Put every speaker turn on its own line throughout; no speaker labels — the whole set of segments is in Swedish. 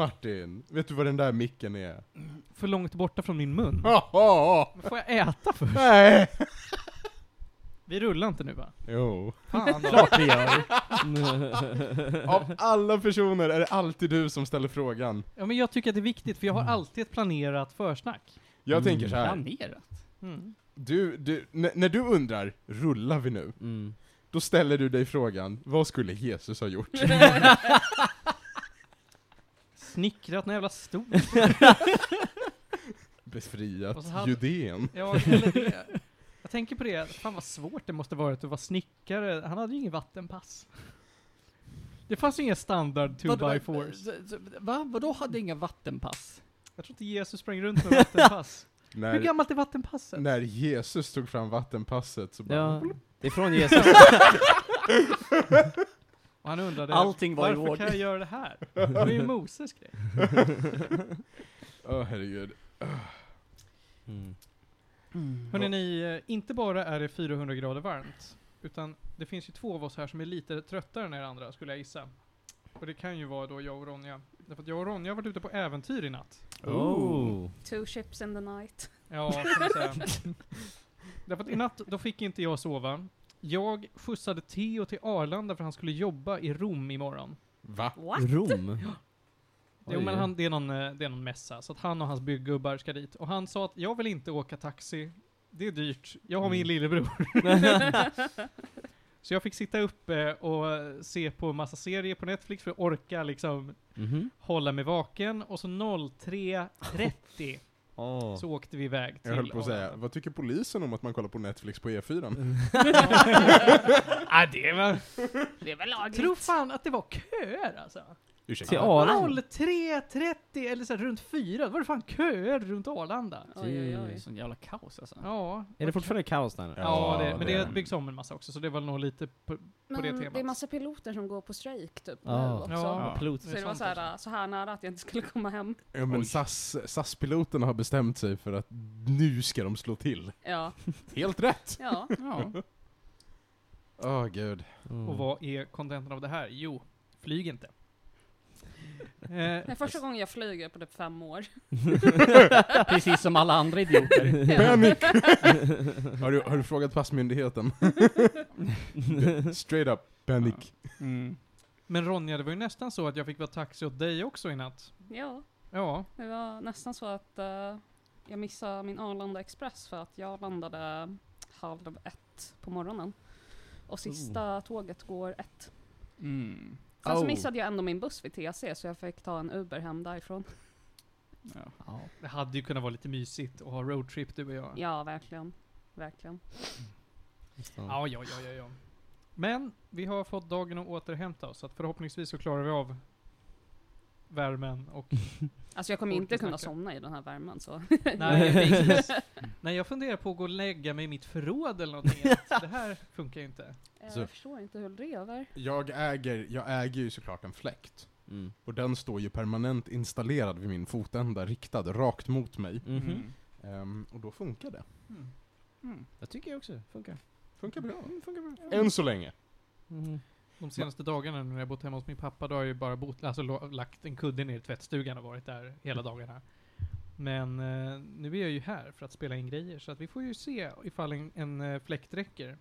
Martin, vet du vad den där micken är?
För långt borta från min mun. Men får jag äta först?
Nej!
Vi rullar inte nu va?
Jo.
Fan då.
Klart vi gör.
Av alla personer är det alltid du som ställer frågan.
Ja men jag tycker att det är viktigt, för jag har alltid ett planerat försnack.
Jag
Mm.
tänker så här.
Planerat?
Mm.
Du, du, n- när du undrar, rullar vi nu?
Mm.
Då ställer du dig frågan, vad skulle Jesus ha gjort?
Snickrat en jävla stol.
Befriat
Och så hade-
Judeen.
Ja, eller det. Jag tänker på det, fan vad svårt det måste varit att vara snickare. Han hade ju ingen vattenpass. Det fanns ju inga standard two by fours.
Va? Vadå hade inga vattenpass?
Jag tror inte Jesus sprang runt med vattenpass. Hur
När,
gammalt är vattenpasset?
när Jesus tog fram vattenpasset så bara,
Ja. Det är från Jesus.
Och han undrade,
Allting var i
varför
ordning."
kan jag göra det här? Det är ju Moses grej.
åh herregud.
Mm.
Hörrni, ni, eh, inte bara är det 400 grader varmt, utan det finns ju två av oss här som är lite tröttare än er andra, skulle jag gissa. Och det kan ju vara då jag och Ronja. Därför att jag och Ronja har varit ute på äventyr i natt.
Oh.
Two ships in the night.
Ja, kan man säga. Därför att i natt, då fick inte jag sova. Jag skjutsade Theo till Arlanda för han skulle jobba i Rom imorgon.
Va?
What?
Rom?
Jo,
Oj.
men han, det, är någon, eh, det är någon mässa, så att han och hans byggubbar ska dit. Och han sa att jag vill inte åka taxi, det är dyrt, jag har min
Mm.
lillebror. så jag fick sitta uppe och se på massa serier på Netflix för att orka liksom
Mhm.
hålla mig vaken. Och så 03.30
Åh.
så åkte vi iväg till Mm.
Jag höll på att
Arlanda.
säga, vad tycker polisen om att man kollar på Netflix på E E4?
ah, det var...
Det är väl lagligt?
Tror fan att det var köer alltså.
Till
Ursäkta?
Arlanda?
03.30 eller så här, runt 4, då var det fan köer runt Arlanda.
Oj, oj, oj.
Sån jävla kaos alltså.
Ja.
Är det fortfarande kaos där nu?
Ja, det,
Ja,
men
det
det,
är
det
det.
byggs om en massa också, så det var nog lite på,
Men
det temat.
det är massa piloter som går på strejk typ
Ja.
nu också.
Ja.
Pilot.
Så det var så här, så här nära att jag inte skulle komma hem.
Ja men
Oj.
SAS, SAS-piloterna har bestämt sig för att nu ska de slå till.
Ja,
Helt rätt!
ja.
Ja.
Åh gud.
Mm.
Och vad är kontenten av det här? Jo, flyg inte. Eh,
Det är första gången jag flyger på typ fem år.
Precis som alla andra idioter.
Panic! har, du, har du frågat passmyndigheten? Straight up, panic.
Mm.
men Ronja, det var ju nästan så att jag fick vara taxi åt dig också i natt.
Ja,
Ja,
det var nästan så att eh, jag missade min Arlanda Express för att jag landade halv ett på morgonen. Och sista tåget går ett.
Mm.
Sen så
Oh.
missade jag ändå min buss vid TC så jag fick ta en Uber hem därifrån.
Ja.
det hade ju kunnat vara lite mysigt att ha roadtrip du och jag.
Ja, verkligen. Verkligen.
Ja.
Ja, ja, ja, ja, ja. Men vi har fått dagen att återhämta oss, så att förhoppningsvis så klarar vi av värmen och...
Alltså jag kommer
Orkar
inte kunna
snacka.
somna i den här värmen så.
Nej, precis. Nej, jag funderar på att gå och lägga mig i mitt förråd eller någonting. det här funkar ju inte.
Så-
Eh, Jag förstår inte hur det lever.
Jag äger, jag äger ju såklart en fläkt.
Mm.
Och den står ju permanent installerad vid min fotända, riktad rakt mot mig.
Mhm.
Mm.
Ehm, och då funkar det.
Jag tycker jag också funkar. Mm.
Funkar bra.
funkar bra.
Än så länge.
Mm.
De senaste dagarna när jag bott hemma hos min pappa, då har jag ju bara bott, alltså lo- lagt en kudde ner i tvättstugan och varit där hela
Mm.
dagarna. Men eh, nu är jag ju här för att spela in grejer, så att vi får ju se ifall en, en eh, fläkt räcker.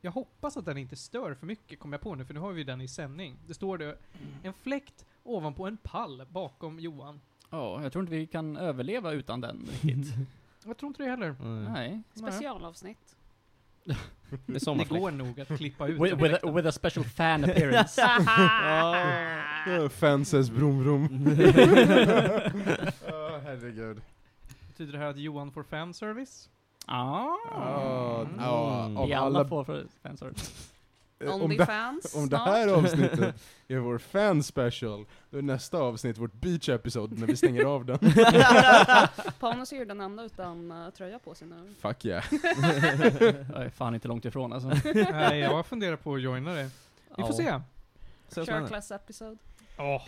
Jag hoppas att den inte stör för mycket, kommer jag på nu, för nu har vi den i sändning. Det står
Mm.
det en fläkt ovanpå en pall bakom Johan.
Ja, jag tror inte vi kan överleva utan den riktigt.
Jag tror inte det heller.
Mm.
Nej.
Nej.
Specialavsnitt.
Det är
Det
sommarfläkt.
går nog att klippa ut
With,
den
with, a,
fläkten.
with a special fan appearance.
Uh, Fences brum brum. Åh, herregud.
Betyder det här att Johan får fanservice?
ah.
Ja,
Mm.
ja, ah, av
Vi
alla,
alla får för Spencer.
eh, om det
Onlyfans
Om det
snart.
här avsnittet är vår fan special, då är nästa avsnitt vårt beach episode när vi stänger av den.
Panos är ju den enda utan eh, tröja på sig nu.
Fuck yeah.
Jag är fan inte långt ifrån alltså.
Nej, jag funderar på att joina det. Vi får se.
Så
Share
spännande.
class episode.
Ja,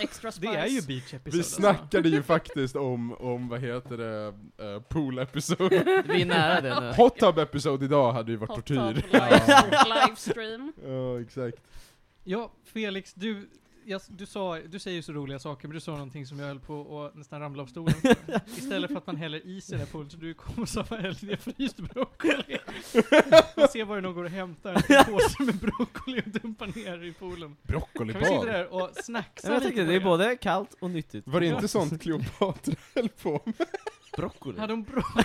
Extra spice.
det är ju beach episode. alltså.
Vi
alltså.
snackade ju faktiskt om, om vad heter det, eh, pool episode.
Vi är nära det nu.
Hot tub episode idag hade ju varit
Hot
tortyr.
tub live- Livestream.
Ja, exakt.
Ja, Felix, du jag, du, sa, du säger så roliga saker, men du sa någonting som jag höll på att nästan ramla av stolen för. Istället för att man häller is i den här poolen, så du kommer som att man häller ner fryst broccoli. Man ser bara någon går och hämtar en påse med broccoli och dumpar ner i poolen. Kan vi sitta
Broccolibad.
där och snacksa
Jag tänkte,
på
det är både kallt och nyttigt.
Var det inte sånt Kleopatra höll på med?
Broccoli?
Hade hon broccoli?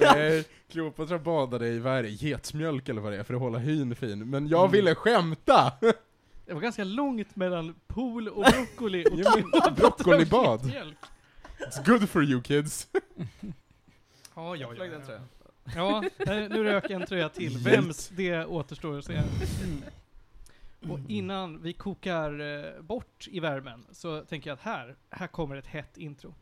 Nej, Kleopatra badade i, vad är det, getsmjölk eller vad det är för att hålla hyn fin. Men jag
Mm.
ville skämta!
Det var ganska långt mellan pool och broccoli och
Jo, men
Kleopatra och
broccolibad.
getmjölk.
It's good for you kids.
Ja, ja, ja.
flög den
ja.
tröjan.
Ja, eh, nu rök en tröja till.
Yes.
Vems det återstår att se. Och innan vi kokar eh, bort i värmen så tänker jag att här, här kommer ett hett intro.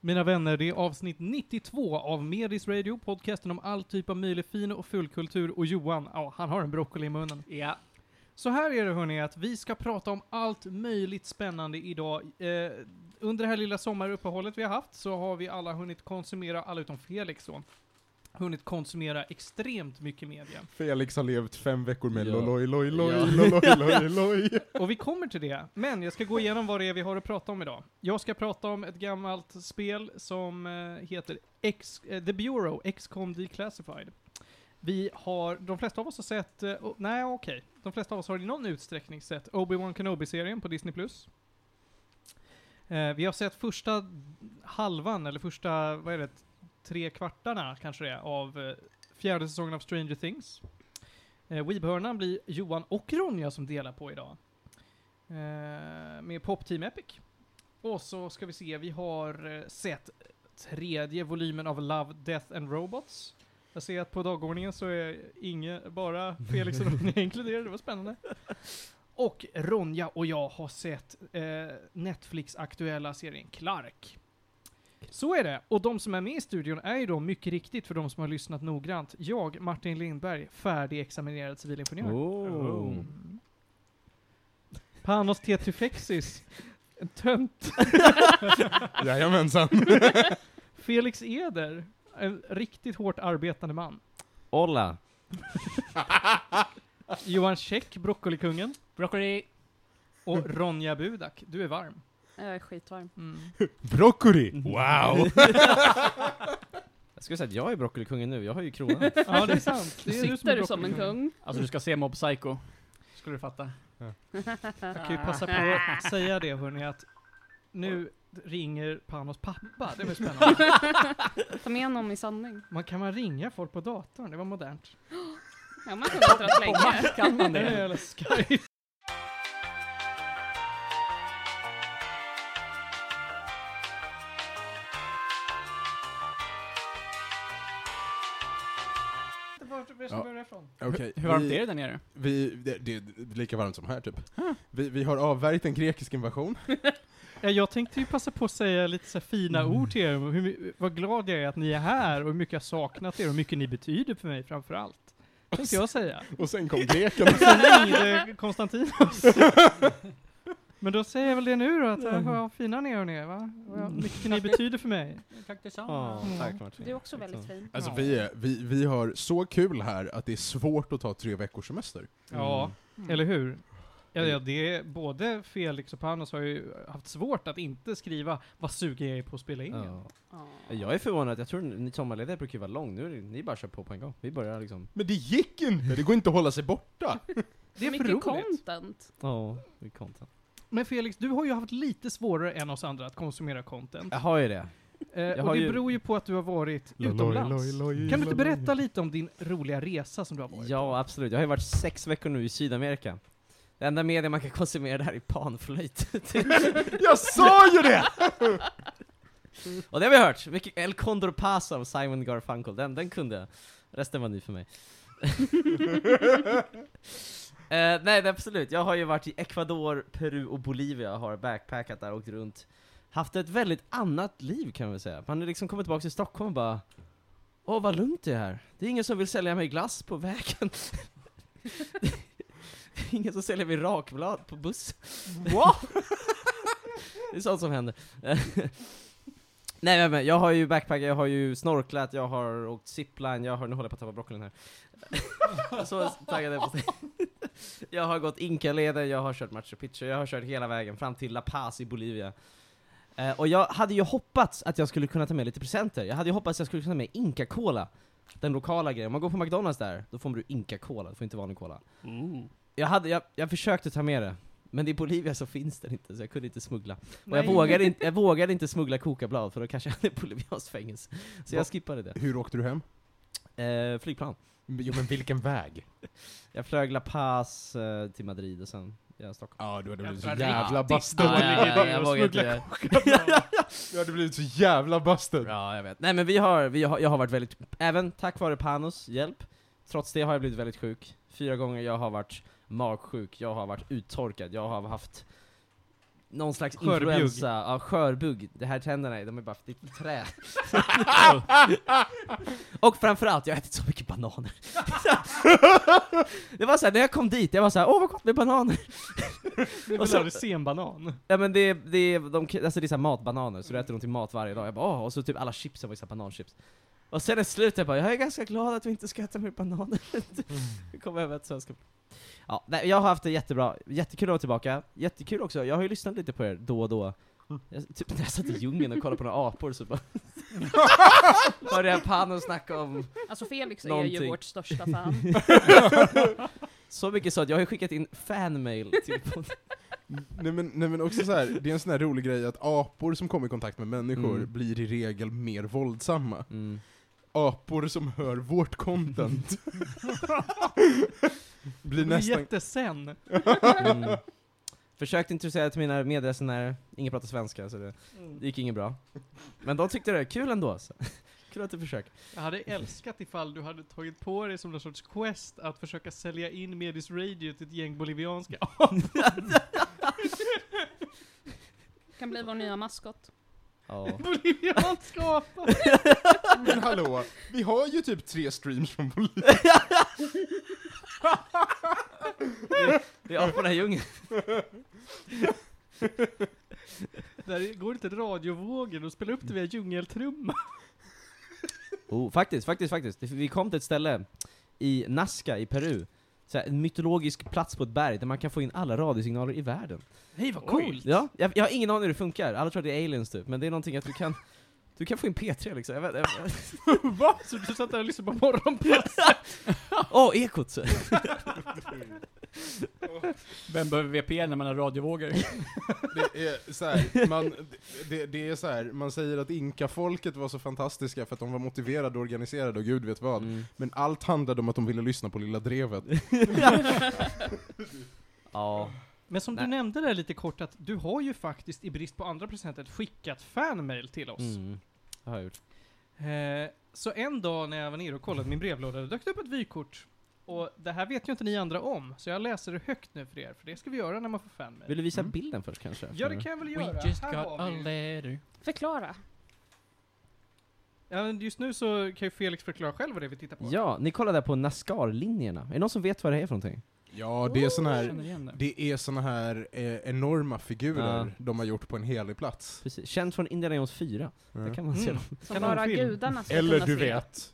Mina vänner, det är avsnitt 92 av Medis Radio, podcasten om all typ av möjlig fin och full kultur. Och Johan, ja, han har en broccoli i munnen.
Ja.
Så här är det hörni, att vi ska prata om allt möjligt spännande idag. Eh, under det här lilla sommaruppehållet vi har haft så har vi alla hunnit konsumera, alla utom Felix då, hunnit konsumera extremt mycket media.
Felix har levt fem veckor med
Ja.
loloj, loj, loj,
Ja.
loloj, loj, loj.
Och vi kommer till det, men jag ska gå igenom vad det är vi har att prata om idag. Jag ska prata om ett gammalt spel som eh, heter X, eh, The Bureau, XCOM Declassified. Vi har, de flesta av oss har sett, eh, oh, nej okej, de flesta av oss har i någon utsträckning sett Obi-Wan Kenobi-serien på Disney+. Eh, vi har sett första halvan, eller första, vad är det, tre kvartarna kanske det är, av eh, fjärde säsongen av Stranger Things. Eh, Weebhörnan blir Johan och Ronja som delar på idag. Eh, med Popteam Epic. Och så ska vi se, vi har eh, sett tredje volymen av Love, Death and Robots. Jag ser att på dagordningen så är Inge, bara Felix och Ronja inkluderade, det var spännande. Och Ronja och jag har sett eh, Netflix-aktuella serien Clark. Så är det, och de som är med i studion är ju då mycket riktigt, för de som har lyssnat noggrant, jag, Martin Lindberg, färdigexaminerad civilingenjör.
Oh.
Panos Tetufexis. En tönt.
Jajamensan.
Felix Eder. En riktigt hårt arbetande man.
Olla.
Johan Käck, broccolikungen.
Broccoli.
Och Ronja Budak, du är varm.
Jag är skitvarm.
Mm.
Broccoli! Wow!
Jag skulle säga att jag är broccolikungen nu, jag har ju kronan.
Ja, det är sant. Det är du som,
Sitter
är
du som en
broccolikungen.
kung?
Alltså du ska se Mob Psycho. Skulle du fatta.
Jag kan ju passa på att säga det hörni, att nu ringer Panos pappa. Det var spännande.
Ta med honom i sanning.
Man kan man ringa folk på datorn? Det var modernt.
Ja, man kunde ha dragit länge.
Kan man
Eller
det?
jävla Skype. Vart ska
Ja.
vi börja ifrån?
Okej,
Hur varmt
vi-
är det där nere?
Vi, det, det är lika varmt som här typ. Vi, vi har avvärjt en grekisk invasion.
Ja, jag tänkte ju passa på att säga lite så här fina ord till er, om hur, my- vad glad jag är att ni är här och hur mycket jag saknat er och hur mycket ni betyder för mig framför allt. Tänkte jag säga.
Och sen kom greken.
Alltså,
Sen ringde Konstantinos. Men då säger jag väl det nu då, att äh, vad fina ni är hörni, va?
Mm.
Vad mycket ni betyder för mig.
Tack
Ja, tack Martin.
Mm. Du är också
liksom-
väldigt fin.
Alltså vi, är, vi, vi har så kul här att det är svårt att ta tre veckors semester.
Ja,
Mm.
Mm.
eller hur? Ja, ja, det är, både Felix och Panos har ju haft svårt att inte skriva vad suger jag är på att spela in. igen."
Mm. Ja.
Ja.
Jag är förvånad, jag tror ni sommarledare brukar ju vara lång, nu är det, ni bara kör på på en gång. Vi börjar liksom.
Men det gick inte! Det går inte att hålla sig borta.
Det är för
Mycket
roligt.
content.
Ja, det är content.
Men Felix, du har ju haft lite svårare än oss andra att konsumera content.
Jag har ju det.
Eh, och
har
det
ju-
beror ju på att du har varit utomlands. Kan du inte berätta lite om din roliga resa som du har varit
Ja, absolut. Jag har ju varit sex veckor nu i Sydamerika. Det enda media man kan konsumera där är panflöjt.
Jag sa ju det!
Och det har vi hört! Mycket El Condor Pasa av Simon Garfunkel, den, den kunde jag. Resten var ny för mig. Eh, nej, det- absolut. Jag har ju varit i Ecuador, Peru och Bolivia, har backpackat där, åkt runt. Haft ett väldigt annat liv kan man väl säga. Man har liksom kommit tillbaka till Stockholm och bara Åh vad lugnt det är här. Det är ingen som vill sälja mig glass på vägen. det är ingen som säljer mig rakblad på bussen. What? det är sånt som händer. Nej men- men jag har ju backpackat, jag har ju snorklat, jag har åkt zipline, jag har, nu håller jag på att tappa broccolin här. Så taggad jag på jag har gått Inkaleden, jag har kört Machu Picchu, jag har kört hela vägen fram till La Paz i Bolivia. Eh, och jag hade ju hoppats att jag skulle kunna ta med lite presenter. Jag hade ju hoppats att jag skulle kunna ta med Inca-cola. Den lokala grejen. Om man går på McDonalds där, då får man ju Inca-cola, det får inte vanlig cola. Jag, hade, jag, jag försökte ta med det, men i Bolivia så finns den inte, så jag kunde inte smuggla. Och jag
Nej.
vågade, inte, jag vågade inte smuggla kokablad, för då kanske jag hade bolivianskt fängelse. Så
Va-
jag skippade det.
Hur åkte du hem?
Eh, flygplan.
Jo men vilken väg?
Jag flög La Paz eh, till Madrid och sen, ja, Stockholm.
Ja, du hade blivit så
Jag tror
jävla
riktigt
busted.
dålig
Ja, ja, ja,
idé
jag
att
vågar inte
smuggla
göra-
Du hade blivit så jävla busted.
Ja, jag vet. Nej men vi har, vi har, jag har varit väldigt, även tack vare Panos hjälp, trots det har jag blivit väldigt sjuk. Fyra gånger jag har varit magsjuk, jag har varit uttorkad, jag har haft någon slags
Skörbjugg.
influensa, ja, skörbugg. Det här tänderna, de är bara det är trä. Och framförallt, jag har ätit så mycket bananer. det var såhär, när jag kom dit, jag var såhär, åh vad gott med bananer!
Det är
Och så-
väl se en banan?
Ja men det, det, de, alltså det är så här matbananer, så du äter dem till mat varje dag. Jag bara åh, och så typ alla chipsen var ju så här bananchips. Och sen i slutet jag bara, jag är ganska glad att vi inte ska äta mer bananer. Vi kommer över ett sällskap. Ja, nej, jag har haft det jättebra, jättekul att vara tillbaka. Jättekul också, jag har ju lyssnat lite på er då och då. Jag, typ när jag satt i djungeln och kollade på några apor så bara... Hörde jag Panos snacka om
Alltså Felix är
Någonting.
ju vårt största fan.
så mycket så att jag har ju skickat in fanmail till podden.
Nej men, nej men också så här, det är en sån här rolig grej att apor som kommer i kontakt med människor
Mm.
blir i regel mer våldsamma.
Mm.
Apor som hör vårt content blir
Det är
nästan...
jättesen.
Mm. Försökte introducera till mina medresenärer, ingen pratar svenska så det,
Mm.
det gick inget bra. Men de tyckte det var kul ändå. Så. Kul att du försöker.
Jag hade älskat ifall du hade tagit på dig som någon sorts quest att försöka sälja in Medis Radio till ett gäng bolivianska
Kan bli vår nya maskot.
Ja.
bolivianska apor.
Men hallå, vi har ju typ tre streams från Bolivia.
Det är aporna i djungeln.
Där går inte radiovågen och spela upp det via djungeltrumma.
Oh, faktiskt, faktiskt, faktiskt. Vi kom till ett ställe i Nazca i Peru. Så här, en mytologisk plats på ett berg där man kan få in alla radiosignaler i världen.
Hej vad coolt!
Ja, jag, jag har ingen aning hur det funkar, alla tror att det är aliens typ, men det är någonting att du kan du kan få in P3 liksom, jag vet, jag vet.
Va? Så du satt där och lyssnade på morgonpass?
Åh, Ekot! så.
Vem behöver VPN när man har radiovågor?
Det är så här, man, det, det är så här, man säger att inkafolket var så fantastiska för att de var motiverade och organiserade och gud vet vad.
Mm.
Men allt handlade om att de ville lyssna på Lilla Drevet.
Ja.
Men som
Nej.
du nämnde där lite kort att du har ju faktiskt i brist på andra presenter skickat fanmail till oss.
Mm. Det har jag gjort.
Eh, så en dag när jag var nere och kollade min brevlåda, det dök det upp ett vykort. Och det här vet ju inte ni andra om, så jag läser det högt nu för er, för det ska vi göra när man får fanmail.
Vill du visa
Mm.
bilden först kanske?
Ja, det kan jag väl göra.
We just
Här
got
har
a
vi ju-
letter.
Förklara.
Ja, men just nu så kan ju Felix förklara själv vad det är vi tittar på.
Ja, ni kollar där på Nascar-linjerna. Är det någon som vet vad det är för någonting?
Ja, det är sån
Jag
här,
känner igen det.
det är såna här eh, enorma figurer
Ja.
de har gjort på en helig plats.
Precis. Känd från Indiana Jones 4. Där kan man se
Mm.
dem.
Som
Kan någon
bara
film?
gudarna ska
Eller
kunna
du
se.
vet.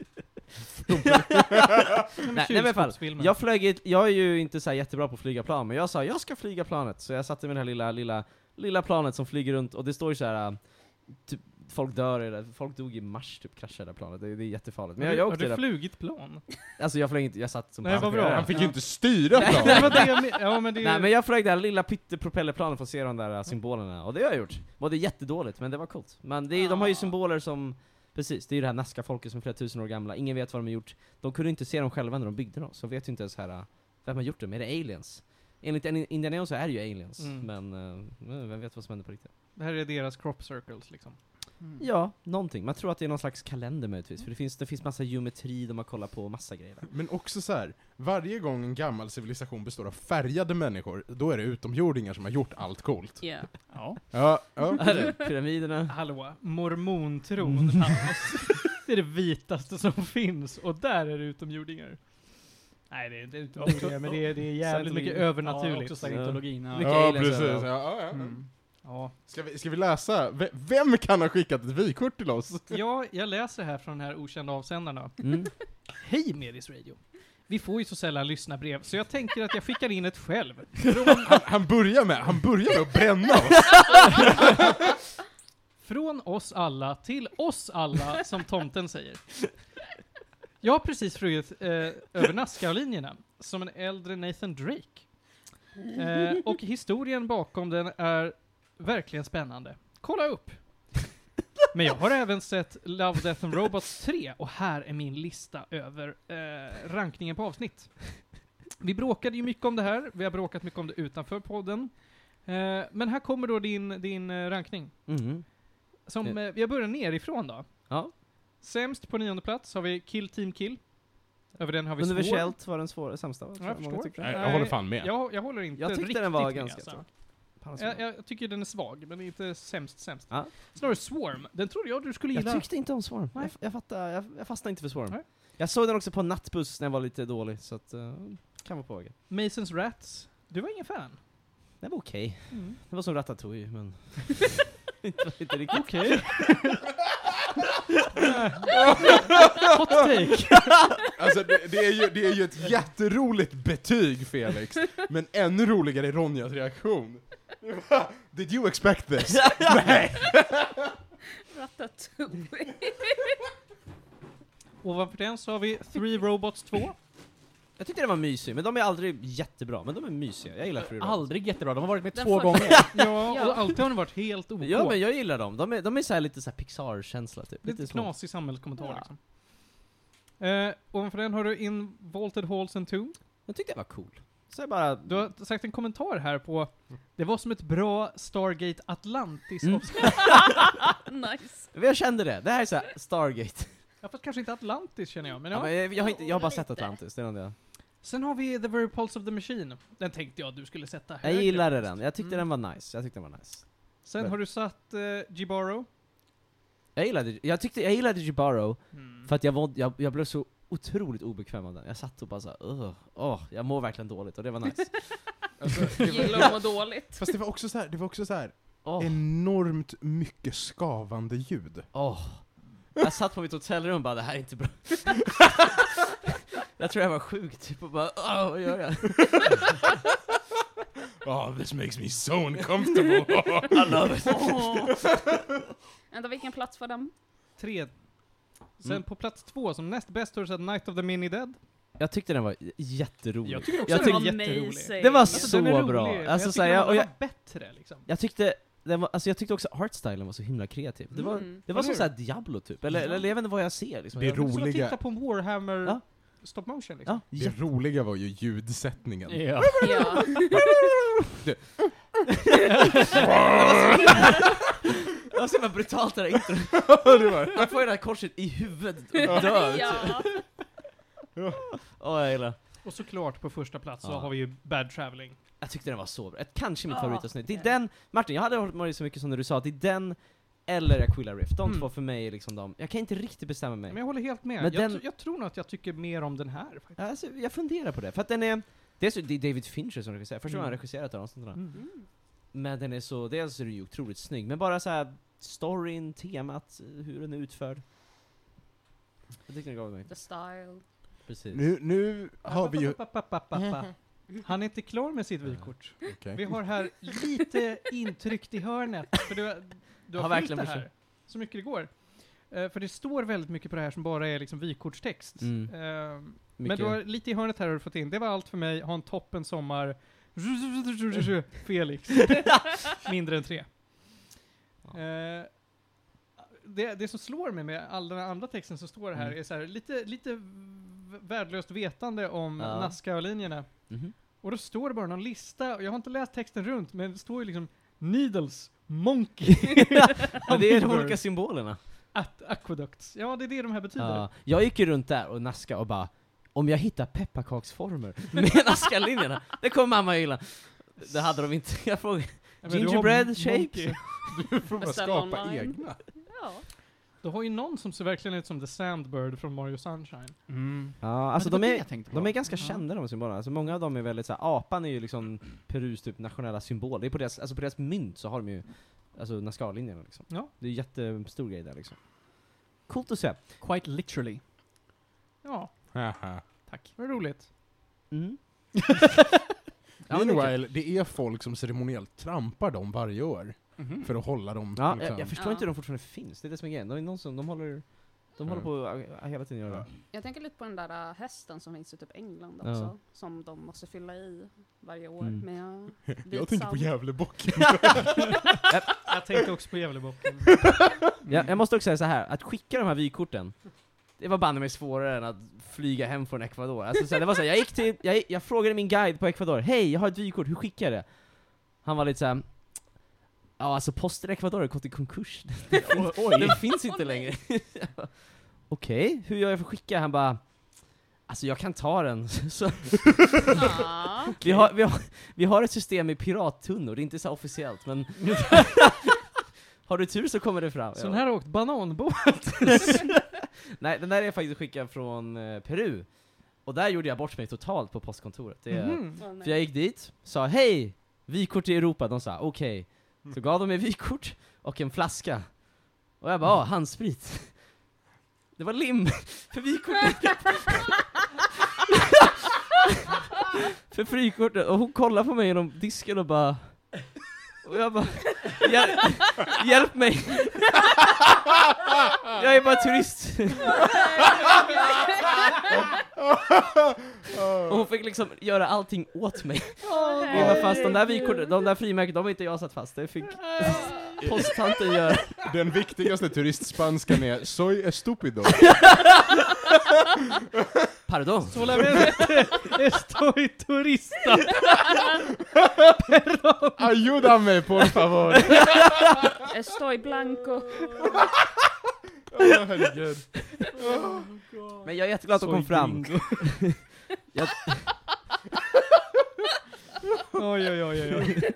Nej,
Nej, nej, men i alla fall. Jag, flög i, ett- jag är ju inte så här jättebra på att flyga plan, men jag sa jag ska flyga planet. Så jag satte mig i det här lilla, lilla, lilla planet som flyger runt och det står ju så här. äh, Typ, folk dör i det, folk dog i mars typ, kraschade det här planet. Det, det är jättefarligt. Men jag, jag
Har
åkte
du
det.
flugit plan?
Alltså jag flög inte, jag satt som
Nej, vad bra.
Han fick ju
Ja.
inte styra
Nej.
planet.
det var det jag men- ja, men det
Nej men jag flög det här lilla pyttepropellerplanet för att se de där äh, symbolerna, och det har jag gjort. Var det jättedåligt, men det var coolt. Men det är, de har ju
Ah.
symboler som, precis, det är ju det här Nazca-folket som är flera tusen år gamla, ingen vet vad de har gjort. De kunde inte se dem själva när de byggde dem, så vet ju inte ens här, äh, vem har gjort dem? Är det aliens? Enligt en- Indiana Jones så är det ju aliens,
Mm.
men äh, vem vet vad som händer på riktigt.
Det här är deras crop circles liksom.
Mm.
Ja, någonting. Man tror att det är någon slags kalender möjligtvis, för det finns, det finns massa geometri de har kollat på, och massa grejer. där.
Men också så här, varje gång en gammal civilisation består av färgade människor, då är det utomjordingar som har gjort allt coolt.
Yeah.
Ja.
Ja, ja.
Här är Pyramiderna.
Hallå, mormontron Thanos. det är det vitaste som finns, och där är det utomjordingar. Nej, det är inte utomjordingar, men det är, det är jävligt
Scientologi.
mycket
Ja,
övernaturligt.
också scientologin. Ja.
Vilka
ja
aliens är
precis.
det
Ja,
då?
ja, ja.
Mm.
Ja.
Ska, vi, ska vi läsa? V- Vem kan ha skickat ett vykort till oss?
ja, jag läser här från den här okända avsändarna.
Mm.
Hej Medis Radio! Vi får ju så sällan lyssna brev, så jag tänker att jag skickar in ett själv. Från,
Han, han börjar med, han börjar med att bränna oss.
från oss alla till oss alla, som tomten säger. Jag har precis flugit eh, över Nazca-linjerna, som en äldre Nathan Drake. Eh, och historien bakom den är verkligen spännande. Kolla upp! Men jag har även sett Love, Death and Robots 3 och här är min lista över eh, rankningen på avsnitt. Vi bråkade ju mycket om det här, vi har bråkat mycket om det utanför podden. Eh, men här kommer då din, din eh, rankning.
Mhm.
Som, eh, jag börjar nerifrån då.
Ja.
Sämst på nionde plats har vi Kill Team Kill. Över den har vi Swarm.
Universellt var den svåra, sämsta. tror
jag förstår.
många tyckte.
Nej, jag håller fan med.
Jag, jag håller inte
Jag tyckte
riktigt
den var
med,
ganska
alltså.
svag. Fan,
Jag, jag tycker den är svag, men inte sämst sämst.
Ja.
Snarare Swarm, den trodde jag du skulle
Jag
gilla.
tyckte inte om Swarm.
Nej.
Jag, jag, fattar, jag, jag fastnade inte för Swarm.
Nej.
Jag såg den också på nattbuss när jag var lite dålig, så att... eh, kan vara på vägen.
Masons Rats, du var ingen fan.
Den var okej.
Mm.
Det var som Ratatouille, men... inte, inte riktigt.
Okej. Hot take.
Alltså, det, det, är ju, det är ju ett jätteroligt betyg, Felix. Men ännu roligare är Ronjas reaktion. Va? Did you expect this? Nej!
Ratatouille.
Ovanför den så har vi Three Robots 2.
Jag tyckte den var mysig, men de är aldrig jättebra, men de är mysiga. Jag gillar Free Robots.
Aldrig jättebra, de har varit med
Den
två
första.
gånger.
Ja,
Ja.
och alltid har den varit helt OK.
Ja men jag gillar dem, de är, de är så här lite så här Pixar-känsla typ.
Lite
små.
knasig samhällskommentar
Ja.
liksom. Eh, ovanför den har du Involted Halls and Tomb.
Jag tyckte det var cool. Så jag bara...
Du har sagt en kommentar här på Det var som ett bra Stargate Atlantis
Mm.
avsnitt.
nice.
Men Jag kände det, det här är så här Stargate.
Ja, fast kanske inte Atlantis känner jag, men
Ja.
ja.
men jag, jag, har inte, jag har bara
Lite.
sett Atlantis, det är det.
Sen har vi The Very Pulse of the Machine. Den tänkte jag att du skulle sätta
Jag
högre.
gillade den, jag tyckte
Mm.
den var nice. Jag tyckte den var nice.
Sen har du satt uh, Gibaro.
Jag gillade, jag tyckte, jag gillade Jibaro
Mm.
för att jag, var, jag, jag blev så otroligt obekväm av den. Jag satt och bara såhär, åh, jag mår verkligen dåligt och det var nice.
Alltså, det
Gillar att
var,
må dåligt.
fast det var också så här, det var också så här
Åh,
enormt mycket skavande ljud.
åh. Jag satt på mitt hotellrum och bara, det här är inte bra. jag tror jag var sjuk typ och bara, åh, vad gör jag?
Oh, this makes me so uncomfortable.
Åh. Vänta, vilken plats var den?
Tre. Sen
Mm.
på plats två, som näst bäst, har du satt Night of the Mini Dead.
Jag tyckte den var j- jätterolig.
Jag tycker också
Jag
den var
tycker-
jätterolig.
Amazing.
Det var
Alltså,
Så
den är
bra.
Rolig, men
Alltså,
jag
så här,
tycker den
jag-
var
och jag-
bättre liksom.
Jag tyckte, den var, alltså jag tyckte också artstylen var så himla kreativ. Det var,
Mm.
det var
Eller
som såhär Diablo typ, eller,
Ja.
eller jag vet inte vad jag ser liksom.
Det är
jag,
Som att
roliga-
titta på en Warhammer
Ja.
stop motion liksom.
ja, ja.
Det roliga var ju ljudsättningen.
Ja.
Ja.
Det var så himla brutalt det där introt. Man får ju det här korset i huvudet och dör. typ.
ja.
Åh, jag gillar
Och såklart på första plats så
Ja.
har vi ju Bad Traveling.
Jag tyckte den var så bra. Ett- Kanske mitt
Ja.
favoritavsnitt. Det är den, Martin, jag hade hållit med dig så mycket som när du sa, att det är den eller Aquila Rift. De
Mm.
två för mig är liksom de. Jag kan inte riktigt bestämma mig.
Men jag håller helt med.
Men
jag,
den-
tr- jag tror nog att jag tycker mer om den här faktiskt.
Alltså, jag funderar på det, för att den är... Det är, så, det är David Fincher som regisserar, första gången han
Mm.
regisserat den och sånt där.
Mm.
Mm.
Men den är så, dels är den ju otroligt snygg, men bara så här storyn, temat, hur den är utförd. Jag tyckte den gav mig.
The style.
Precis.
Nu, nu har vi ju...
Pa, pa, pa, pa, pa, pa. Han är inte klar med sitt vykort. Vi har här lite intryckt i hörnet, för du, har- du har,
Har
fyllt
verkligen
det här
försökt.
så mycket det går. Eh, för det står väldigt mycket på det här som bara är liksom vykortstext.
Mm.
Eh, men
Mycket-
du har lite i hörnet här har du fått in, det var allt för mig, ha en toppen sommar, Felix. Mindre än tre. Eh, det, det som slår mig med all den andra texten som står här
Mm.
är så här, lite, lite v- värdelöst vetande om
Ja.
Nazca-linjerna.
Mhm.
Och då står det bara någon lista, och jag har inte läst texten runt, men det står ju liksom Needles, Monkey.
Men det är de
Hummingbird.
olika symbolerna.
At aqueducts. Ja, det är det de här betyder.
Ja, jag gick ju runt där och naskade och bara om jag hittar pepparkaksformer med naskalinjerna, det kommer mamma gilla. Det hade de inte. Jag frågade.
Jag menar, du har
Gingerbread
monkey.
shapes.
Du får bara
Beställ
skapa
online.
egna.
Ja.
Du har ju någon som ser verkligen ut som The Sandbird från Mario Sunshine.
Mm.
Ja, alltså
Men det
de
var det
är,
jag tänkte på.
de är ganska kända de symbolerna. Alltså många av dem är väldigt såhär, apan är ju liksom Perus typ nationella symbol. Det är på deras, alltså på deras mynt så har de ju alltså naskalinjerna liksom.
Ja.
Det är ju jättestor grej där liksom. Coolt att se.
Quite literally.
Ja,
Haha.
tack. Vad roligt.
Mm. Ja, men typ. det är kul.
Meanwhile, det är folk som ceremoniellt trampar dem varje år för att hålla dem
Mhm. Ja,
liksom.
jag, jag förstår
Ja.
inte hur de fortfarande finns, det är det som är grejen. De, är någon som, de håller, de
Ja.
håller på att, äh, hela tiden göra det.
Jag tänker lite på den där äh, hästen som finns i typ England
Ja.
också, som de måste fylla i varje år
Mm.
med
Jag
vit
tänker på
sand.
Gävlebocken.
Jag tänkte också på Gävlebocken.
Jag, jag måste också säga så här att skicka de här vykorten, det var banne mig svårare än att flyga hem från Ecuador. Alltså, så här, det var så här, jag, gick till, jag, jag frågade min guide på Ecuador, hej jag har ett vykort, hur skickar jag det? Han var lite såhär, ja alltså posten i Ecuador har gått i konkurs, den finns inte längre. Jag bara, Okej, hur gör jag för att skicka? Han bara, alltså jag kan ta den. Så,
Ja.
Vi har, vi, har, vi har ett system med pirattunnor, det är inte så officiellt men Har du tur så kommer det fram.
Så den här har åkt bananbåt.
Nej, den där är faktiskt skickad från eh, Peru. Och där gjorde jag bort mig totalt på postkontoret. Det,
Mhm.
Åh, nej.
För jag gick dit, sa hej! Vykort till Europa. De sa okej. Så gav de mig vykort och en flaska. Och jag bara, ah, handsprit. Det var lim, för vykortet. för frikortet. Och hon kollade på mig genom disken och bara... Och jag bara, hjälp, hjälp mig! jag är bara turist. Och hon fick liksom göra allting åt mig.
Åh,
Vi var
nej.
fast, de där vykorten, de där frimärken, de har inte jag satt fast, det fick
Äh,
Eh,
posttanten göra.
Den viktigaste turistspanskan är Soy estupido.
Pardon?
Solamente estoy turista.
Ayúdame por favor!
Estoy blanco.
Åh, herregud.
Men jag är jätteglad att de kom fram.
Oj, oj, oj, oj, oj.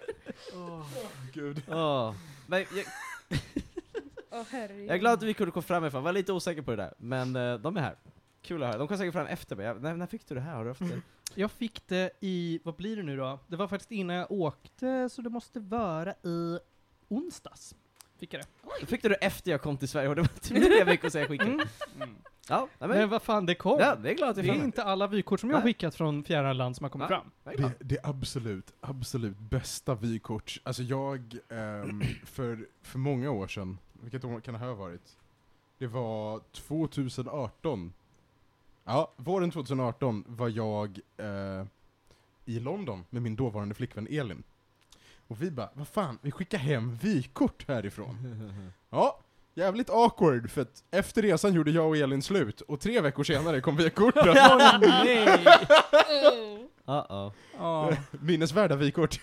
Gud.
Åh. Men jag,
Åh herregud.
jag är glad att vi kunde komma fram ifrån, jag var lite osäker på det där. Men eh, de är här. Kul att höra. De kom säkert fram efter mig. Jag, när, när fick du det här? Har du haft det?
Jag fick det i, vad blir det nu då? Det var faktiskt innan jag åkte, så det måste vara i onsdags. Fick jag det.
Då fick du det efter jag kom till Sverige och det var typ tre veckor sedan jag skickade.
Mm.
Ja, nej,
Men
men,
vad fan, det kom.
ja, det är glad att
Det
jag fick
är
det.
inte alla vykort som jag har
Nej.
skickat från fjärran land som har kommit
Nej.
fram.
Jag är glad.
Det, det absolut, absolut bästa vykort. Alltså jag, ehm, för, för många år sedan, vilket år kan det här ha varit? Det var 2018. Ja, våren 2018 var jag eh, i London med min dåvarande flickvän Elin. Och vi bara, vad fan, vi skickar hem vykort härifrån. Ja, jävligt awkward för att efter resan gjorde jag och Elin slut och tre veckor senare kom vykorten.
nej!
Oh.
Uh-oh.
Ja.
Minnesvärda vykort.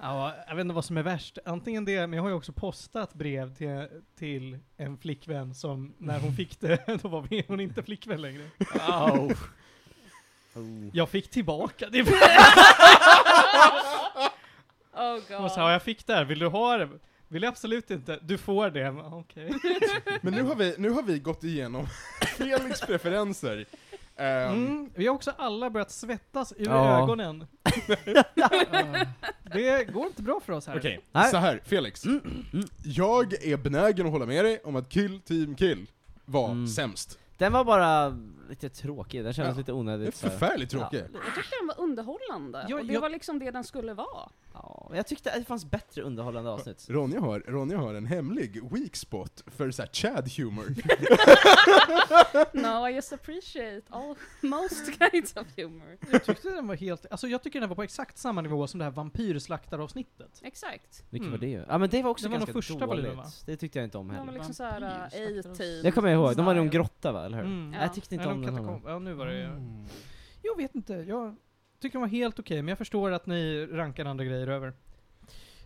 Ja, jag vet inte vad som är värst. Antingen det, men jag har ju också postat brev till, till en flickvän som när hon fick det, då var vi, hon inte flickvän längre.
Au.
Jag fick tillbaka det.
Oh
Hon
god.
sa, "Ja, jag fick det här, vill du ha det? Vill jag absolut inte. Du får det. Men, Okej.
Men nu har vi, nu har vi gått igenom Felix preferenser. Ehm,
Mm, vi har också alla börjat svettas ur
Ja.
ögonen. Ah, det går inte bra för oss här.
Okej,
Nej.
så här Felix. Jag är benägen att hålla med dig om att Kill Team Kill var
Mm.
sämst.
Den var bara lite tråkig, den kändes
Ja.
lite
Det är
onödigt. så här.
förfärligt tråkigt.
Jag tyckte den var underhållande,
Ja,
och det
jag-
var liksom det den skulle vara.
Ja, men jag tyckte att det fanns bättre underhållande avsnitt.
Ronja har, Ronja har en hemlig weak spot för så här chad humor.
No, I just appreciate all most kinds of humor.
Jag tyckte den var helt, alltså jag tycker den var på exakt samma nivå som det här vampyrslaktaravsnittet.
Exakt.
Vilket
Mm.
var det ju? Ja men det var också
Det var nog
ganska
första volymen,
dåligt.
va?
Det tyckte jag inte om
De
heller.
var liksom såhär
Vampyr,
uh, A-team.
Det kommer jag ihåg, de var i någon
style.
grotta va, eller hur?
Mm.
Ja.
Jag tyckte inte
Nej,
om
de
den
katakom-
heller.
Ja, nu var det
Mm.
Jag vet inte, jag tycker den var helt okej, men jag förstår att ni rankar andra grejer över.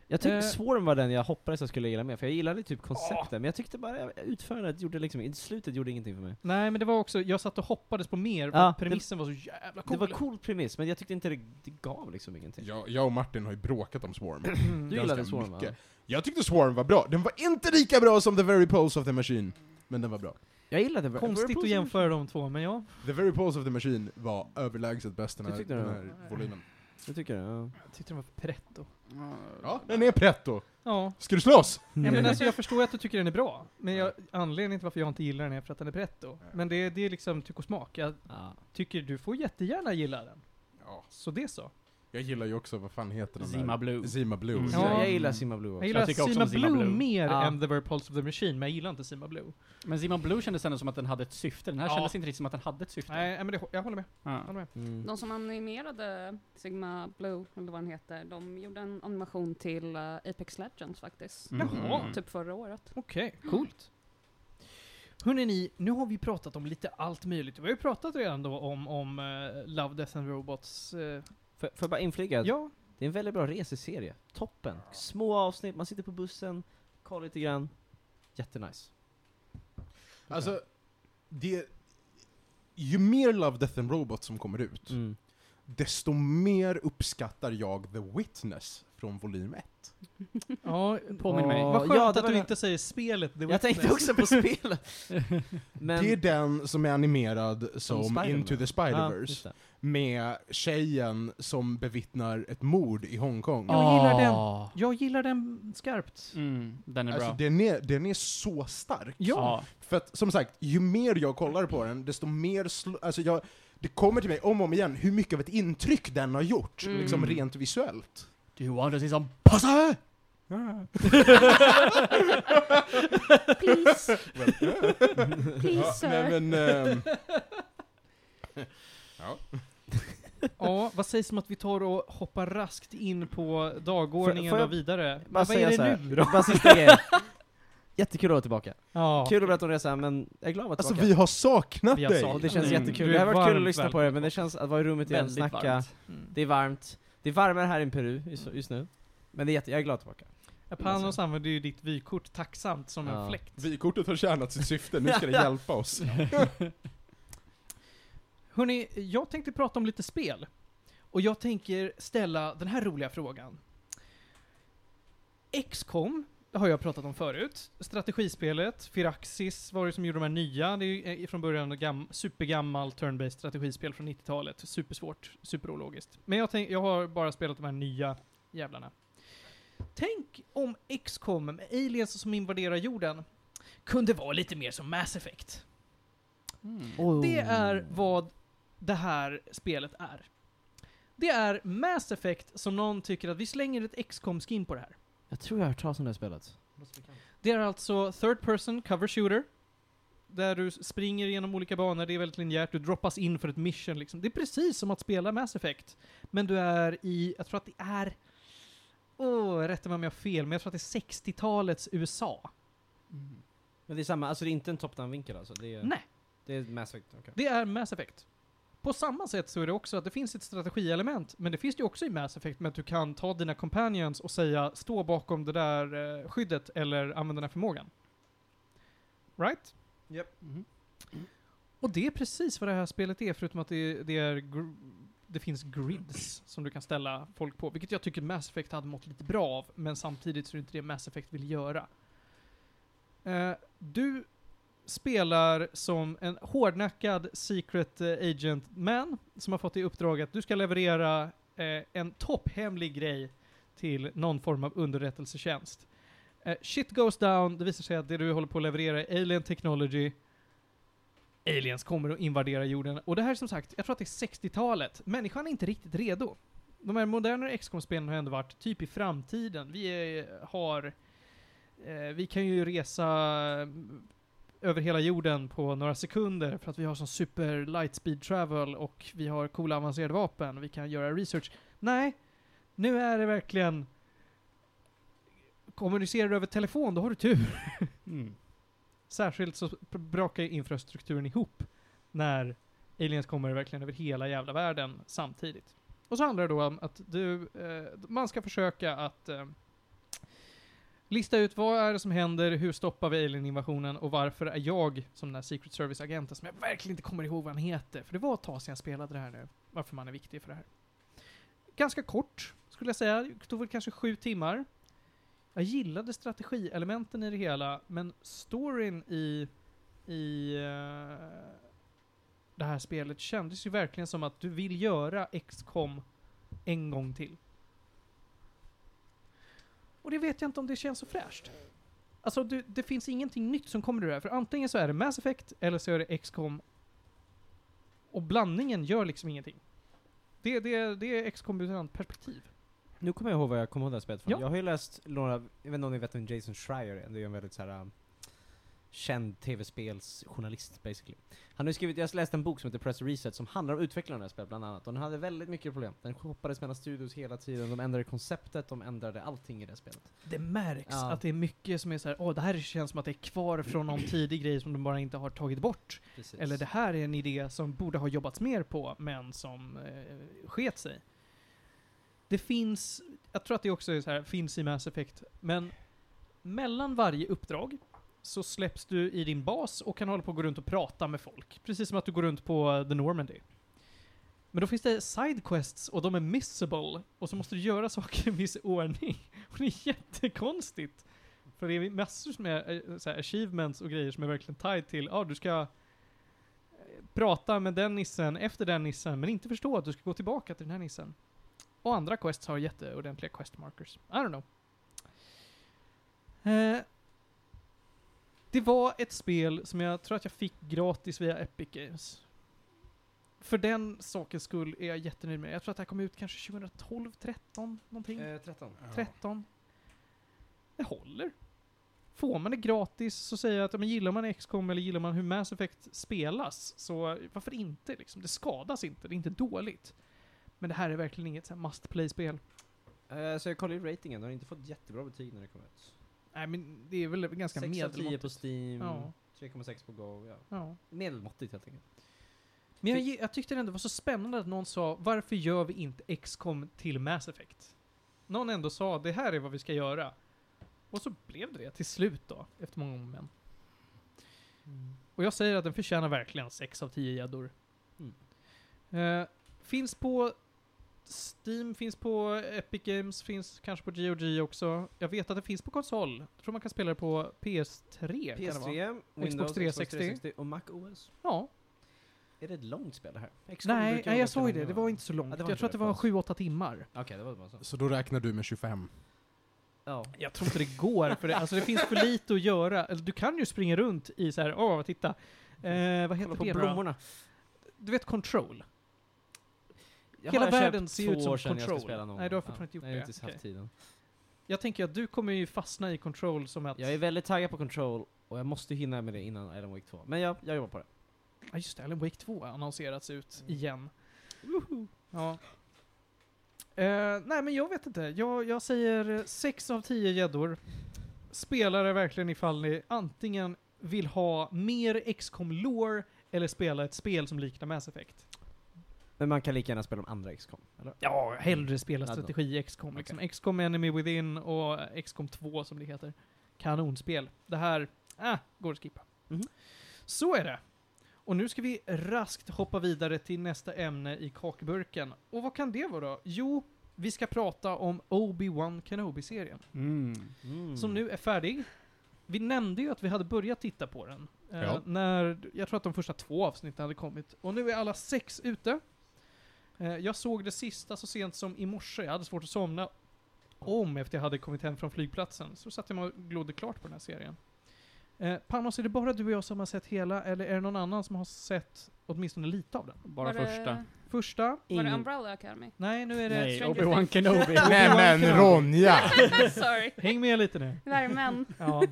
Jag tyckte
Eh.
Swarm var den jag hoppades jag skulle gilla mer, för jag gillade typ konceptet, men jag tyckte bara utförandet gjorde liksom, i slutet gjorde ingenting för mig.
Nej men det var också, jag satt och hoppades på mer för
Ja,
att premissen var så jävla cool.
Det var cool premiss, men jag tyckte inte det, det gav liksom ingenting.
Jag, jag och Martin har ju bråkat om Swarm.
Du
ganska
gillade Swarm va?
mycket. Jag tyckte Swarm var bra. Den var inte lika bra som The Very Pulse of the Machine. Men den var bra.
Jag gillade det.
Konstigt att jämföra de två, men ja.
The Very Pulse of the Machine var överlägset bäst den
Du
här,
tyckte
den
det?
här volymen.
Jag tycker det, ja.
Jag tyckte den var pretto.
Ja, den är pretto.
Ja.
Ska du slåss?
Mm.
Nej, men alltså, jag förstår ju att du tycker den är bra, men jag, anledningen till varför jag inte gillar den är för att den är pretto. Men det, det är liksom tyck och smak. Jag
Ja.
tycker du får jättegärna gilla den.
Ja.
Så det så.
Jag gillar ju också, vad fan heter den
Zima Blue.
där? Zima Blue.
Mm.
Så
Ja.
Jag gillar Simma Blue också.
Jag gillar
Jag tycker också
Sima
om Sima
Blue,
Blue.
mer
Ja.
än The Very Pulse of the Machine, men jag gillar inte Sima Blue.
Men Simon Blue kändes ändå som att den hade ett syfte. Den här
Ja.
kändes inte riktigt som att den hade ett syfte.
Nej, men det, jag håller med.
Ja.
Jag håller med.
Mm.
De som animerade Sigma Blue, eller vad den heter, de gjorde en animation till eh, Apex Legends faktiskt.
Mm.
Jaha.
Typ förra året.
Okej, coolt. Hörrni, ni, nu har vi pratat om lite allt möjligt. Vi har ju pratat redan då om, om eh, Love, Death and Robots. eh,
Får får jag bara inflika? att
ja,
Det är en väldigt bra reseserie. Toppen. Små avsnitt, man sitter på bussen, kollar lite grann. Jättenice.
Alltså, det... Ju mer Love, Death and Robots som kommer ut,
Mm.
desto mer uppskattar jag The Witness från volym 1.
ja
Påminn mig.
Vad skönt
Ja, det
att
var
du
det-
inte säger spelet. The
Jag tänkte
Witness.
också på spelet. Men...
Det är den som är animerad som
Spider-Man.
Into the
Ja,
Spider-Verse.
just det.
med tjejen som bevittnar ett mord i Hongkong.
Ja, Jag gillar den.
Ah.
Jag gillar den skarpt.
Mm, den är
Alltså
bra.
den är, den är så stark.
Ja.
För att som sagt, ju mer jag kollar på den, desto mer sl- alltså jag, det kommer till mig om och om igen hur mycket av ett intryck den har gjort,
Mm.
liksom rent visuellt.
Do you want to see some pussy?
Please,
Well,
please sir.
nej, men, ehm,
Ja, vad sägs om att vi tar och hoppar raskt in på dagordningen
Får- får jag
och vidare?
Bara
Men vad är
säga så
det
här,
nu då?
Bara sista grejen. Jättekul att vara tillbaka.
Ja.
Kul att berätta om resan, men jag är glad att vara
alltså
tillbaka.
vi har saknat
Vi har
dig!
Ja,
saknat
det känns
Mm.
jättekul.
Du
Det
är
har varit kul att
varmt
lyssna på er, men det känns att vara i rummet igen,
Väldigt
snacka.
varmt.
Mm.
Det är varmt. Det är varmare här än Peru just, just nu. Men det är jätte, jag är glad tillbaka.
Ja, Panos använder ju ditt vykort tacksamt som
Ja.
en fläkt.
Vykortet har tjänat sitt syfte, nu ska det hjälpa oss.
Hörni, jag tänkte prata om lite spel. Och jag tänker ställa den här roliga frågan. XCOM det har jag pratat om förut. Strategispelet, Firaxis var det som gjorde de här nya. Det är ju eh, från början gam- supergammal turn-based strategispel från 90-talet. Supersvårt, superologiskt. Men jag, tänk, jag har bara spelat de här nya jävlarna. Tänk om XCOM med aliens som invaderar jorden kunde vara lite mer som Mass Effect.
Mm.
Det är vad det här spelet är. Det är Mass Effect som någon tycker att vi slänger ett XCOM skin på det här.
Jag tror jag har hört talas om det här spelet.
Det är alltså Third Person Cover Shooter. Där du springer genom olika banor, det är väldigt linjärt, du droppas in för ett mission liksom. Det är precis som att spela Mass Effect. Men du är i, jag tror att det är... Åh, rätta mig om jag har fel, men jag tror att det är 60-talets USA.
Men det är samma, alltså det är inte en top-down-vinkel alltså? Det är,
Nej.
Det är Mass Effect, okej.
Det är Mass Effect. På samma sätt så är det också att det finns ett strategielement, men det finns det ju också i Mass Effect med att du kan ta dina companions och säga stå bakom det där eh, skyddet eller använda den här förmågan. Right?
Mm.
Mhm.
Och det är precis vad det här spelet är, förutom att det, det är gr- det finns grids som du kan ställa folk på, vilket jag tycker Mass Effect hade mått lite bra av, men samtidigt så är det inte det Mass Effect vill göra. Eh, du spelar som en hårdnackad secret eh, agent man som har fått i uppdrag att du ska leverera eh, en topphemlig grej till någon form av underrättelsetjänst. Eh, shit goes down, det visar sig att det du håller på att leverera är alien technology. Aliens kommer att invadera jorden. Och det här är som sagt, jag tror att det är 60-talet. Människan är inte riktigt redo. De här modernare XCOM-spelen har ändå varit typ i framtiden. Vi är, har... Eh, vi kan ju resa eh, över hela jorden på några sekunder för att vi har sån super light speed travel och vi har coola avancerade vapen och vi kan göra research. Nej, nu är det verkligen... Kommunicerar du över telefon, då har du tur.
Mm.
Särskilt så pr- brakar ju infrastrukturen ihop när aliens kommer verkligen över hela jävla världen samtidigt. Och så handlar det då om att du, eh, man ska försöka att eh, Lista ut vad är det som händer, hur stoppar vi alien-invasionen och varför är jag, som den här Secret Service-agenten, som jag verkligen inte kommer ihåg vad han heter, för det var ett tag sedan jag spelade det här nu, varför man är viktig för det här. Ganska kort, skulle jag säga. Det tog väl kanske sju timmar. Jag gillade strategielementen i det hela, men storyn i, i eh, det här spelet kändes ju verkligen som att du vill göra XCOM en gång till. Och det vet jag inte om det känns så fräscht. Alltså, du, det finns ingenting nytt som kommer ur det här. För antingen så är det Mass Effect eller så är det XCOM. Och blandningen gör liksom ingenting. Det, det, det är XCOM ur ett perspektiv.
Nu kommer jag ihåg vad jag kommer ihåg det här spelet från.
Ja.
Jag har ju läst några, jag vet inte om ni vet vem Jason Schreier är, det är ju en väldigt så här um, känd tv-spelsjournalist basically. Han har ju skrivit, jag läste en bok som heter Press Reset som handlar om utvecklingen av det här spelet bland annat, och den hade väldigt mycket problem. Den hoppades mellan studios hela tiden, de ändrade konceptet, de ändrade allting i det här spelet.
Det märks
Ja.
att det är mycket som är så här, åh, det här känns som att det är kvar från någon tidig grej som de bara inte har tagit bort.
Precis.
Eller det här är en idé som borde ha jobbats mer på, men som eh, sket sig. Det finns, jag tror att det också är så här, finns i Mass Effect, men mellan varje uppdrag så släpps du i din bas och kan hålla på att gå runt och prata med folk. Precis som att du går runt på eh, The Normandy. Men då finns det sidequests och de är missable och så måste du göra saker i viss ordning. Och det är jättekonstigt. För det är massor med eh, så här, achievements och grejer som är verkligen tied till, ja ah, du ska eh, prata med den nissen efter den nissen men inte förstå att du ska gå tillbaka till den här nissen. Och andra quests har jätteordentliga quest markers. I don't know. Eh, det var ett spel som jag tror att jag fick gratis via Epic Games. För den sakens skull är jag jättenöjd med. Jag tror att det här kom ut kanske 2012, 13 någonting.
Eh, 13.
Ja.
13. Det håller. Får man det gratis så säger jag att ja, men gillar man XCOM eller gillar man hur Mass Effect spelas så varför inte liksom? Det skadas inte, det är inte dåligt. Men det här är verkligen inget så här must play-spel.
Eh, så jag kollade ju ratingen, den har inte fått jättebra betyg när det kom ut.
Nej men det är väl ganska
6 av 10
medelmåttigt.
på Steam,
Ja,
3,6 på Go, ja.
ja.
Medelmåttigt helt enkelt.
Men jag, jag tyckte det ändå var så spännande att någon sa varför gör vi inte XCOM till Mass Effect? Någon ändå sa det här är vad vi ska göra. Och så blev det det till slut då, efter många om och men.
Mm.
Och jag säger att den förtjänar verkligen 6 av 10 gäddor.
Mm.
Eh, finns på Steam, finns på Epic Games, finns kanske på GOG också. Jag vet att det finns på konsol. Jag tror man kan spela det på PS3. Kan det vara.
PS3, Windows, Xbox
360.
360 och Mac OS.
Ja.
Är det ett långt spel det här? XCOM
Nej,
brukar
nej,
vara
jag såg ju
ganska
det. Det
långa.
var inte så långt.
Ja, det var
jag
inte
tror att
det
det var
för
7-8
oss.
timmar.
Okej, det var bara så.
Så då räknar du med 25?
Ja.
Jag tror inte det går, för det, alltså det finns för lite att göra. Eller Du kan ju springa runt i så här, åh, titta. Eh, vad heter
Kolla på
det då?
blommorna.
Du vet Control?
Jag
Hela
har
världen
köpt
ser ut
två
som
år sedan jag ska
Control.
spela någon
Nej, du har
gång.
fortfarande inte gjort
nej, Jag har
det.
inte haft
Okej.
tiden.
Jag tänker att du kommer ju fastna i Control som att...
Jag är väldigt taggad på Control och jag måste hinna med det innan Alan Wake 2. Men jag, jag jobbar på det.
Ja just det, Alan Wake 2 har annonserats ut
Mm.
igen. Ja. Eh, nej men jag vet inte, jag, jag säger 6 av 10 gäddor. Spelar det verkligen ifall ni antingen vill ha mer XCOM lore eller spela ett spel som liknar Mass Effect.
Men man kan lika gärna spela de andra XCOM, eller?
Ja, hellre spela
Add-on.
strategi i XCOM. Liksom. XCOM Enemy Within och XCOM 2 som det heter. Kanonspel. Det här, ah, går att skippa.
Mhm.
Så är det. Och nu ska vi raskt hoppa vidare till nästa ämne i kakburken. Och vad kan det vara då? Jo, vi ska prata om Obi-Wan Kenobi-serien.
Mm.
Mm.
Som nu är färdig. Vi nämnde ju att vi hade börjat titta på den. eh,
Ja.
när, jag tror att de första två avsnitten hade kommit. Och nu är alla sex ute. Eh, jag såg det sista så sent som i morse. Jag hade svårt att somna om efter jag hade kommit hem från flygplatsen. Så satt jag mig och glodde klart på den här serien. Eh, Panos, är det bara du och jag som har sett hela, eller är det någon annan som har sett åtminstone lite av den?
Bara
var
första.
Det,
Första?
var det
Ingen-
Umbrella Academy?
Nej, nu är det...
Nej,
Stranger
Obi-Wan
Things?
Kenobi.
Nej men Ronja!
Sorry.
Häng med lite nu.
Värmen.
Ja.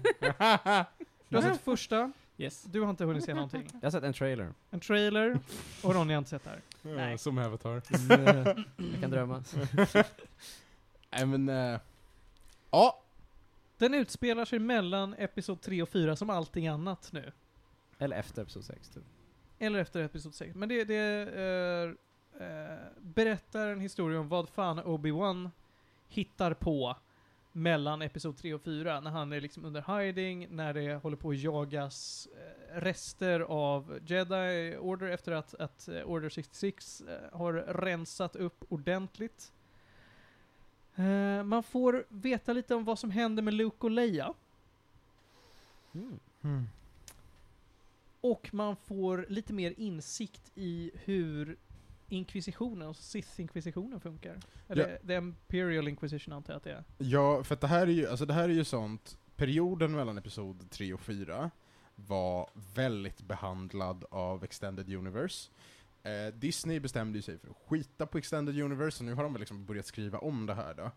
Du har sett första,
Yes.
du har inte hunnit se någonting.
Jag har sett en trailer.
En trailer, och Ronny har inte sett det här.
Eh, Som Avatar.
jag kan drömma.
Nej men... eh, Ja!
Den utspelar sig mellan Episod 3 och 4 som allting annat nu.
Eller efter Episod 6, typ.
Eller efter Episod 6. Men det, det är, eh, berättar en historia om vad fan Obi-Wan hittar på mellan episod 3 och 4, när han är liksom under hiding, när det håller på att jagas eh, rester av Jedi Order efter att, att eh, Order 66 eh, har rensat upp ordentligt. Eh, Man får veta lite om vad som händer med Luke och Leia.
Mm.
Och man får lite mer insikt i hur inkvisitionen, alltså Sith-inkvisitionen funkar. Eller the Imperial Inquisition antar jag att det är.
Ja, för att det här är ju, alltså det här är ju sånt, perioden mellan episod 3 och 4 var väldigt behandlad av Extended Universe. Eh, Disney bestämde ju sig för att skita på Extended Universe, och nu har de väl liksom börjat skriva om det här då.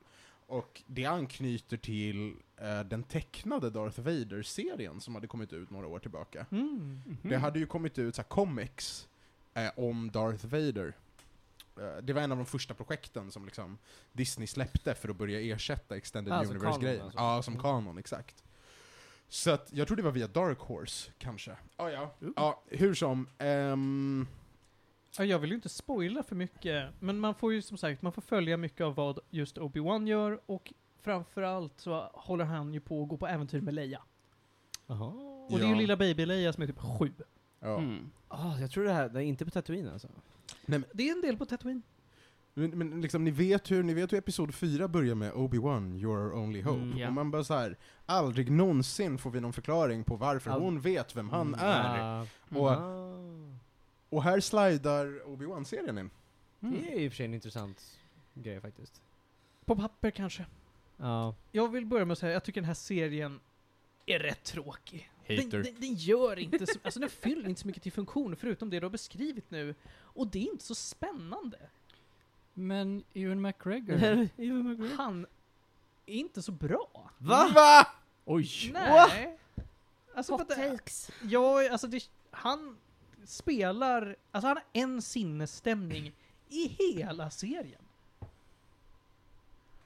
Och det anknyter till eh, den tecknade Darth Vader-serien som hade kommit ut några år tillbaka.
Mm.
Det hade ju kommit ut så här, comics eh, om Darth Vader. Eh, det var en av de första projekten som liksom Disney släppte för att börja ersätta Extended
Ah, som
Universe-grejen.
kanon alltså.
Ja, som
Mm.
kanon, exakt. Så att, jag tror det var via Dark Horse, kanske. Ah, ja,
Ooh.
ja. Hur som, ehm,
Ja, jag vill ju inte spoila för mycket, men man får ju som sagt, man får följa mycket av vad just Obi-Wan gör och framförallt så håller han ju på att gå på äventyr med Leia.
Jaha.
Och det är ju
Ja.
lilla baby-Leia som är typ sju.
ja.
Mm.
Ah, jag tror det här, det är inte på Tatooine alltså.
Det är en del på Tatooine.
Men, men liksom, ni vet hur, ni vet hur episod 4 börjar med Obi-Wan, your only hope.
Mm,
ja.
Och man bara så här, aldrig någonsin får vi någon förklaring på varför
Ald-
hon vet vem han
Mm,
är.
ah,
Och,
ah.
och här slidar Obi-Wan-serien in.
Det är i och för sig en intressant grej faktiskt.
På papper kanske.
Ja.
Jag vill börja med att säga, jag tycker den här serien är rätt tråkig. Den,
Hater.
den, den gör inte så, alltså den fyller inte så mycket till funktion förutom det du har beskrivit nu. Och det är inte så spännande.
Men Ewan McGregor?
Ewan McGregor.
Han är inte så bra.
Va?
Oj!
Nej. Alltså,
Hot
för att det-
takes.
Ja, alltså det, han spelar, alltså han har en sinnesstämning i hela serien.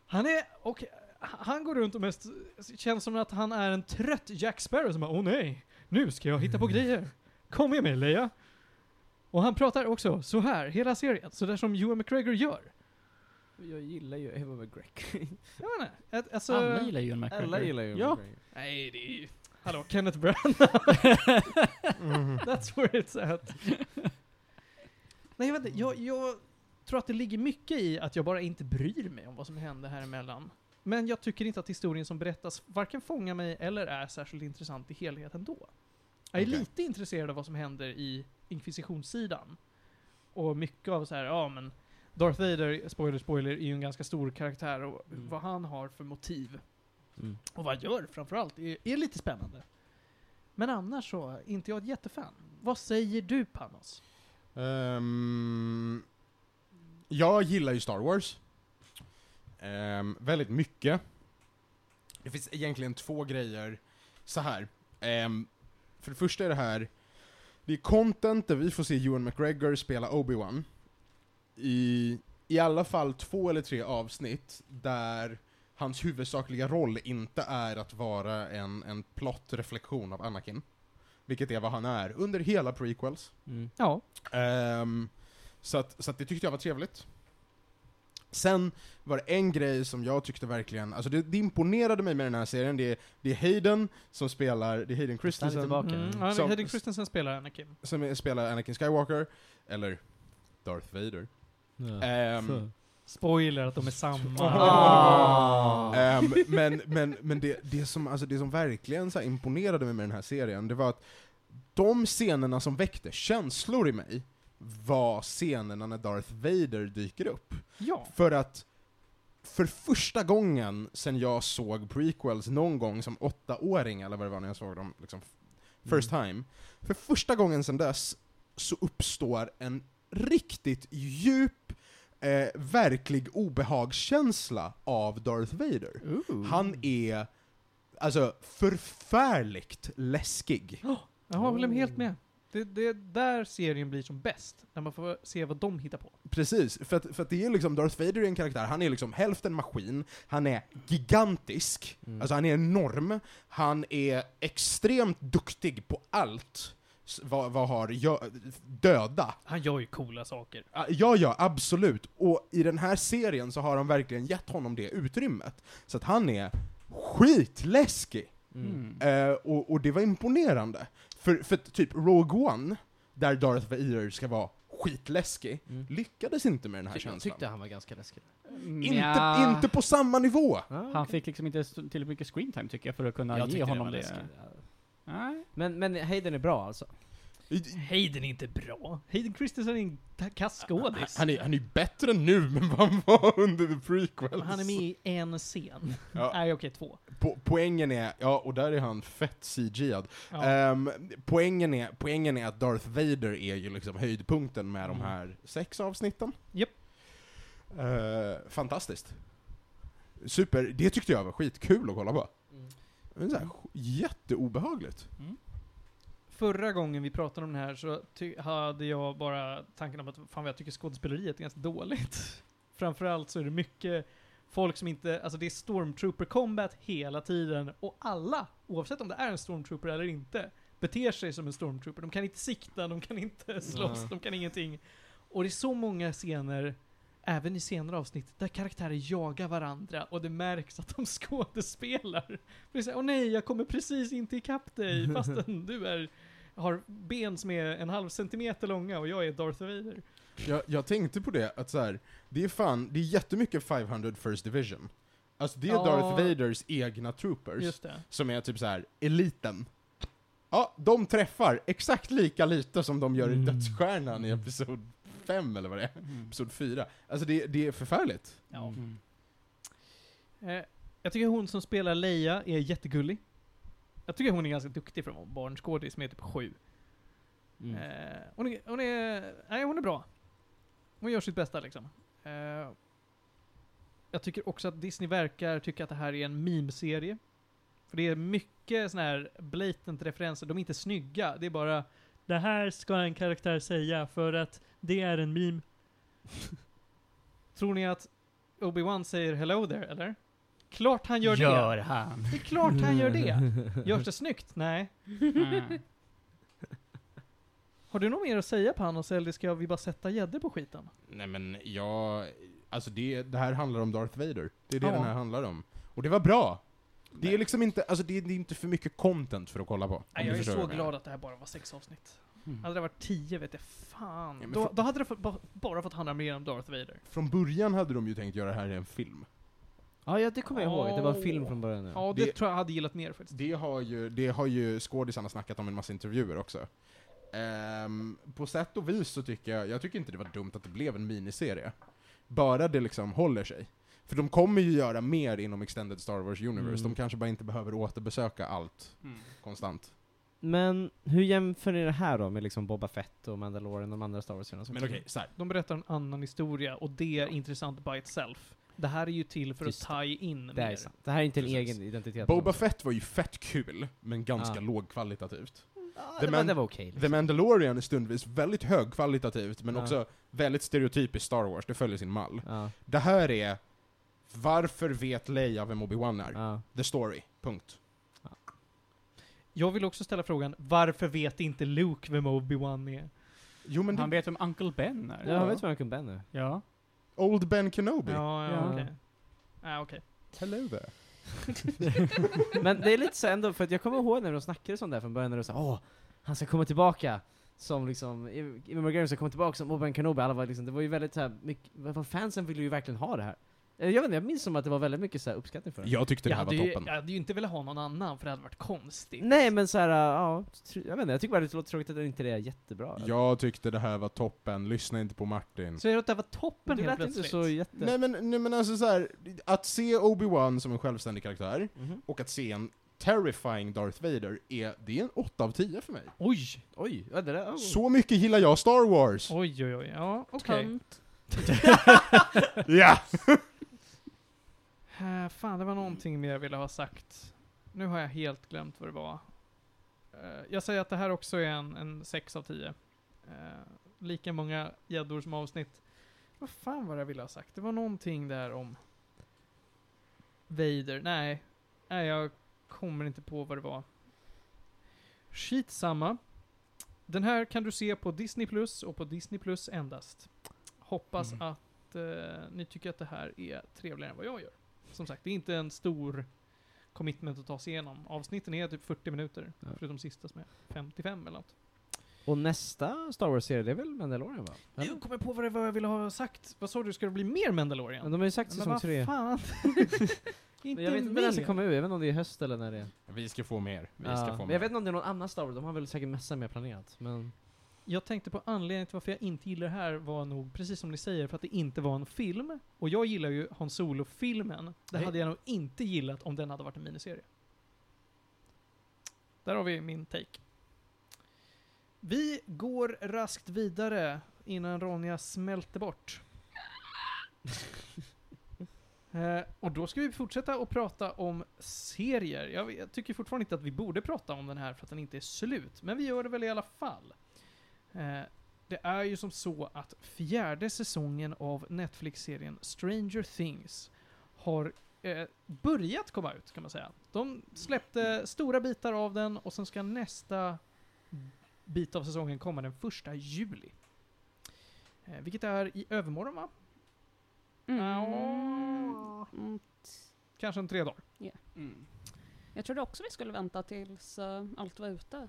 Han är, och han går runt och mest, känns som att han är en trött Jack Sparrow som bara åh nej, nu ska jag hitta på
Mm.
grejer. Kom med mig Leia. Och han pratar också så här hela serien, så där som Ewan McGregor gör.
Jag gillar ju Ewan McGregor.
Jag vet inte, att- alltså...
Alla gillar Ewan McGregor.
Alla gillar ju Ewan
Ja.
McGregor.
Nej, det är ju... Hallå, Kenneth Branagh. That's where it's at. Nej, jag vet inte. Jag, jag tror att det ligger mycket i att jag bara inte bryr mig om vad som hände här emellan. Men jag tycker inte att historien som berättas varken fångar mig eller är särskilt intressant i helheten då. Jag är
Okej.
lite intresserad av vad som händer i inkvisitionssidan. Och mycket av så här, ja men Darth Vader, spoiler spoiler, är ju en ganska stor karaktär och
Mm.
vad han har för motiv.
Mm.
Och vad han gör framförallt är, är lite spännande. Men annars så, är inte jag ett jättefan. Vad säger du Panos?
Ehm, jag gillar ju Star Wars. Ehm, väldigt mycket. Det finns egentligen två grejer. Så här. Ehm, för det första är det här, det är content där vi får se Ewan McGregor spela Obi-Wan. I, I alla fall två eller tre avsnitt där hans huvudsakliga roll inte är att vara en, en plott reflektion av Anakin. Vilket är vad han är under hela prequels.
Mm.
Ja.
Ehm, så att, så att det tyckte jag var trevligt. Sen var det en grej som jag tyckte verkligen, alltså det, det imponerade mig med den här serien, det är, det är Hayden som spelar, det är Hayden
Han är
Christensen
tillbaka.
Mm, ja,
Som-
Hayden Christensen spelar Anakin.
som är- spelar Anakin Skywalker, eller Darth Vader.
Ja.
Ehm,
Så.
Spoiler att de är samma.
Ah.
Ehm, men men, men det, det, som, alltså det som verkligen så här imponerade mig med den här serien, det var att de scenerna som väckte känslor i mig var scenerna när Darth Vader dyker upp.
Ja.
För att för första gången sen jag såg prequels någon gång som åttaåring, eller vad det var när jag såg dem liksom, first time. För första gången sen dess så uppstår en riktigt djup, eh, verklig obehagskänsla av Darth Vader. Han är alltså förfärligt läskig.
Jag håller helt med. Det är det är där serien blir som bäst. När man får se vad de hittar på.
Precis, för att, för att det är liksom, Darth Vader är en karaktär, han är liksom hälften maskin, han är gigantisk,
Mm.
alltså han är enorm, han är extremt duktig på allt. s- vad, vad har jag, döda.
Han gör ju coola saker.
Ah, Ja, ja, absolut. Och i den här serien så har de verkligen gett honom det utrymmet. Så att han är skitläskig.
Mm.
Eh, och, och det var imponerande. För, för att typ Rogue One, där Darth Vader ska vara skitläskig,
Mm.
lyckades inte med den här
Ty- Jag
känslan.
tyckte han var ganska läskig.
Inte, inte på samma nivå!
Han fick liksom inte st- tillräckligt mycket screentime tycker jag för att kunna
jag
ge
tyckte
honom
var
det.
läskigt. Ja.
Nej.
Men, men Hayden är bra alltså?
Hayden är inte bra. Hayden Christensen är en ta- kass skådis.
Han är, han är ju bättre nu än vad han var under the
Men
prequels.
han är med i en scen.
Ja,
Nej okej, två.
po poängen är, ja, och där är han fett CG'ad.
Ja.
Ehm, poängen, är, poängen är att Darth Vader är ju liksom höjdpunkten med de
Mm.
här sex avsnitten.
Japp.
Eh, fantastiskt. Super, det tyckte jag var skitkul att kolla på. Men så här, sk- jätteobehagligt.
Förra gången vi pratade om det här så ty- hade jag bara tanken om att fan vad jag tycker skådespeleriet är ganska dåligt. Framförallt så är det mycket folk som inte, alltså det är stormtrooper combat hela tiden och alla, oavsett om det är en stormtrooper eller inte, beter sig som en stormtrooper. De kan inte sikta, de kan inte slåss,
Nej.
de kan ingenting. Och det är så många scener, även i senare avsnitt, där karaktärer jagar varandra och det märks att de skådespelar. För det är såhär, åh nej, jag kommer precis inte ikapp dig fastän du är, har ben som är en halv centimeter långa och jag är Darth Vader.
Jag, jag tänkte på det, att så här, det är fan, det är jättemycket 500 First Division. Alltså det är
Ja.
Darth Vaders egna troopers.
Just det.
som är typ så här eliten. Ja, de träffar exakt lika lite som de gör i
Mm.
Dödsstjärnan i Episod 5 eller vad det är.
Mm.
Episod 4. Alltså det, det är förfärligt.
Ja.
Mm.
Eh, jag tycker hon som spelar Leia är jättegullig. Jag tycker hon är ganska duktig för att vara barnskådis som är typ sju.
Mm.
Eh, hon, är, hon är... Nej, hon är bra. Hon gör sitt bästa liksom. Eh, jag tycker också att Disney verkar tycka att det här är en meme-serie. För det är mycket sån här blatant referenser. De är inte snygga. Det är bara Det här ska en karaktär säga för att det är en meme. Tror ni att Obi-Wan säger hello there, eller? Klart han gör,
Gör
det.
han.
Det är klart han gör det. Görs det snyggt? Nej.
Mm.
Har du något mer att säga Panos, eller ska vi bara sätta gäddor på skiten?
Nej men jag... Alltså det, det här handlar om Darth Vader. Det är det
Ja.
den här handlar om. Och det var bra! Det är liksom inte, alltså det är, det är inte för mycket content för att kolla på. om
Nej,
du
jag är
förstår
så
vad menar.
glad att det här bara var sex avsnitt.
Mm.
Hade det varit tio vet jag fan.
Ja, men
då,
för-
då hade det fått- ba- bara fått handla mer om Darth Vader.
Från början hade de ju tänkt göra det här i en film.
Ja, ja, det kommer jag ihåg. Det var en film
Åh.
från början. Ja.
Ja, det,
Det-
tror jag hade gillat mer faktiskt.
Det har ju, det har ju skådisarna snackat om i en massa intervjuer också. Ehm, på sätt och vis så tycker jag, jag tycker inte det var dumt att det blev en miniserie. Bara det liksom håller sig. För de kommer ju göra mer inom Extended Star Wars Universe,
Mm.
de kanske bara inte behöver återbesöka allt
Mm.
konstant.
Men hur jämför ni det här då med liksom Boba Fett och Mandalorian och de andra Star Wars-filmerna? som
Men
kom?
okej, så här.
De berättar en annan historia och det är intressant by itself. Det här är ju till för
Just
att tie in
Det här är
mer.
sant. Det här är inte en
Precis.
egen identitet.
Boba Fett var ju fett kul, men ganska
Ah.
lågkvalitativt.
Ja,
The
det, men
Man-
det var okej. liksom.
The Mandalorian är stundvis väldigt högkvalitativt, men
Ja.
också väldigt stereotypiskt Star Wars, det följer sin mall.
Ja,
Det här är, varför vet Leia vem Obi-Wan är?
ja.
The story, punkt.
Jag vill också ställa frågan, varför vet inte Luke vem Obi-Wan är?
Jo men
Han
det,
vet om Uncle Ben är.
Jag vet vad Uncle Ben är.
Ja.
Old Ben Kenobi.
Ja, ja,
Ja.
okej. Ja, okej.
Hello there.
Men det är lite så ändå, för att jag kommer ihåg när de snackade sånt där från början, när de sa åh, han ska komma tillbaka. Som liksom, Ewan McGregor ska komma tillbaka som Obi-Wan Kenobi, alla var liksom, det var ju väldigt såhär, mycket, vad fansen ville ju verkligen ha det här. Eh, Jag vet inte, jag minns som att det var väldigt mycket så här uppskattning för det.
Jag tyckte det
Jag
här var
hade, ju,
toppen.
jag hade ju inte velat ha någon annan för det hade varit konstigt.
Nej men såhär, äh, ja, tr- jag vet inte, jag tycker bara det låter tråkigt att det inte är jättebra.
Jag tyckte det här var toppen, lyssna inte på Martin.
Så jag att det här var toppen
men det
helt
lät inte
plötsligt.
så jätte...
Nej men, nej men alltså så här, att se Obi-Wan som en självständig karaktär,
Mhm.
och att se en terrifying Darth Vader, är, det är en 8 av 10 för mig.
Oj!
Oj, ja, det där, oh.
Så mycket gillar jag Star Wars!
Oj, oj, oj. Ja, okej.
Tönt.
Ja!
Eh, fan, det var någonting mer jag ville ha sagt. Nu har jag helt glömt vad det var. Eh, jag säger att det här också är en, en 6 av 10. Eh, lika många gäddor som avsnitt. Vad fan var det jag ville ha sagt? Det var någonting där om Vader. Nej, nej jag kommer inte på vad det var. Skitsamma. Den här kan du se på Disney Plus och på Disney Plus endast. Hoppas
Mm.
att eh, ni tycker att det här är trevligare än vad jag gör. Som sagt, det är inte en stor commitment att ta sig igenom. Avsnitten är typ 40 minuter,
Ja.
förutom sista som är 55 eller något.
Och nästa Star Wars-serie, det är väl Mandalorian va? Eller?
Nu kommer jag på vad, det var jag ville ha sagt. Vad sa du, ska det bli mer Mandalorian?
Men de har ju sagt säsong tre.
fan. inte
Men liksom jag vet inte när den ska
mer.
komma ut, jag vet inte om det är i höst eller när det är.
Vi ska få mer. Vi
Ja,
ska få
men
mer.
jag vet inte om det är någon annan Star Wars, de har väl säkert massa mer planerat. Men
Jag tänkte på anledningen till varför jag inte gillar det här var nog, precis som ni säger, för att det inte var en film. Och jag gillar ju Han Solo-filmen. Det
Nej.
hade jag nog inte gillat om den hade varit en miniserie. Där har vi min take. Vi går raskt vidare innan Ronja smälter bort. Eh, och då ska vi fortsätta att prata om serier. Jag, jag tycker fortfarande inte att vi borde prata om den här för att den inte är slut, men vi gör det väl i alla fall. Eh, det är ju som så att fjärde säsongen av Netflix-serien Stranger Things har eh, börjat komma ut, kan man säga. De släppte stora bitar av den och sen ska nästa bit av säsongen komma den första juli. Eh, vilket är i övermorgon, va? Ja.
Mm.
Kanske om tre dagar.
Mm.
Jag trodde också vi skulle vänta tills eh, allt var ute.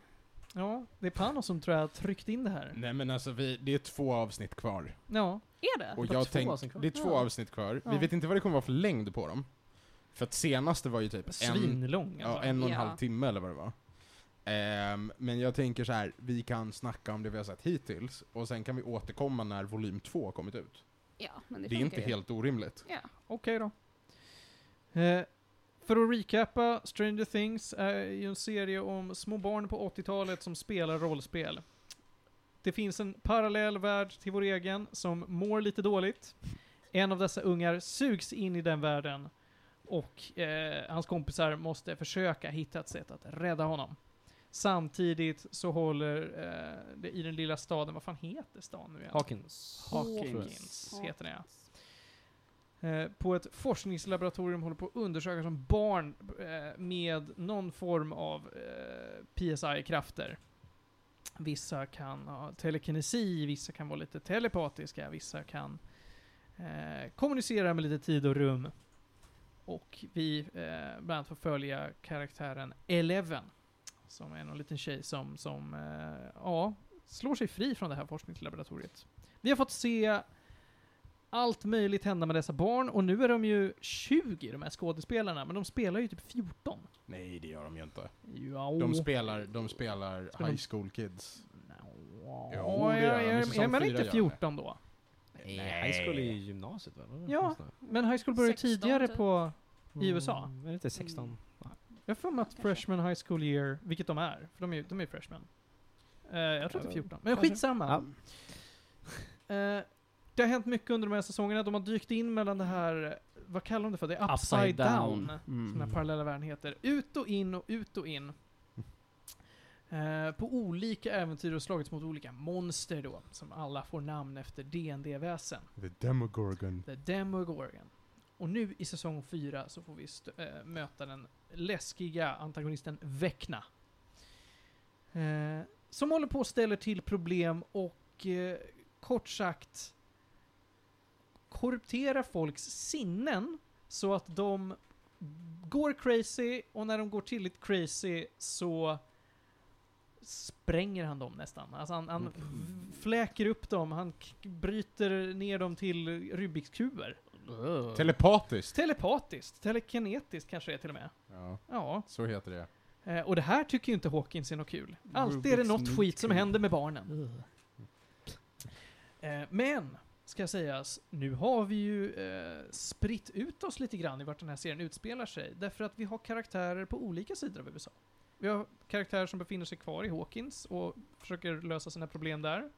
Ja, det är Panos som tror jag tryckte in det här.
Nej men alltså vi, det är två avsnitt kvar.
Ja,
Är det?
Och
Det var
jag
två
tänk,
avsnitt kvar.
det är två
Ja.
avsnitt kvar. Vi
Ja.
vet inte vad det kommer vara för längd på dem. För att senaste var ju typ en,
svinlång
ja,
alltså.
en och en
Ja.
halv timme eller vad det var. Ehm, men jag tänker så här, vi kan snacka om det vi har sett hittills och sen kan vi återkomma när volym två har kommit ut.
Ja, men det,
Det är
funkar
inte
ju.
helt orimligt.
Ja.
Okej då. Eh, för att recapa, Stranger Things är ju en serie om små barn på 80-talet som spelar rollspel. Det finns en parallell värld till vår egen som mår lite dåligt. En av dessa ungar sugs in i den världen och eh, hans kompisar måste försöka hitta ett sätt att rädda honom. Samtidigt så håller eh, det i den lilla staden, vad fan heter stan nu igen?
Hawkins.
Hawkins.
Hawkins heter den ja. Eh, på ett forskningslaboratorium håller på att undersöka som barn eh, med någon form av eh, PSI-krafter. Vissa kan ha telekinesi, vissa kan vara lite telepatiska, vissa kan eh, kommunicera med lite tid och rum. Och vi eh, bland annat får följa karaktären Eleven, som är någon liten tjej som, som eh, ja, slår sig fri från det här forskningslaboratoriet. Vi har fått se allt möjligt hända med dessa barn och nu är de ju 20 de här skådespelarna, men de spelar ju typ 14.
Nej, det gör de ju inte.
Ja,
De spelar, de spelar
Spelar de-
High School Kids.
Ja,
Jo, det gör
är,
de. I
är, är
säsong
man
fyra
inte
gör de
14 då?
Nej, high school är ju gymnasiet väl? Eller?
Ja. Men high school börjar ju
16
tidigare
typ.
på... I USA?
Mm, är det inte 16?
Jag har för mig att
Kanske.
freshman high school year, vilket de är, för de är ju de är ju freshman. Eh, jag tror att det är 14, men
Kanske.
skitsamma.
Ja.
Eh, det har hänt mycket under de här säsongerna. De har dykt in mellan det här, vad kallar de det för? Det är upside, down.
Mm.
som den här parallella världen heter. Ut och in och ut och in. Eh, på olika äventyr och slagits mot olika monster då, som alla får namn efter dd väsen
The Demogorgon.
The Demogorgon. Och nu i säsong 4 så får vi st- eh, möta den läskiga antagonisten Vecna. Eh, som håller på och ställer till problem och eh, kort sagt korrupterar folks sinnen så att de går crazy och när de går till lite crazy så spränger han dem nästan. Alltså han, han v- fläker upp dem, han k- bryter ner dem till Rubiks kuber.
Telepatiskt!
Telepatiskt, telekinetiskt kanske det är till och med.
Ja,
Ja.
så heter det.
Eh, och det här tycker ju inte Hawkins är något kul. Alltid är det
Rubiks
något
Cube.
skit som händer med barnen. Eh, men, ska sägas, nu har vi ju eh, spritt ut oss lite grann i vart den här serien utspelar sig. Därför att vi har karaktärer på olika sidor av USA. Vi har karaktärer som befinner sig kvar i Hawkins och försöker lösa sina problem där.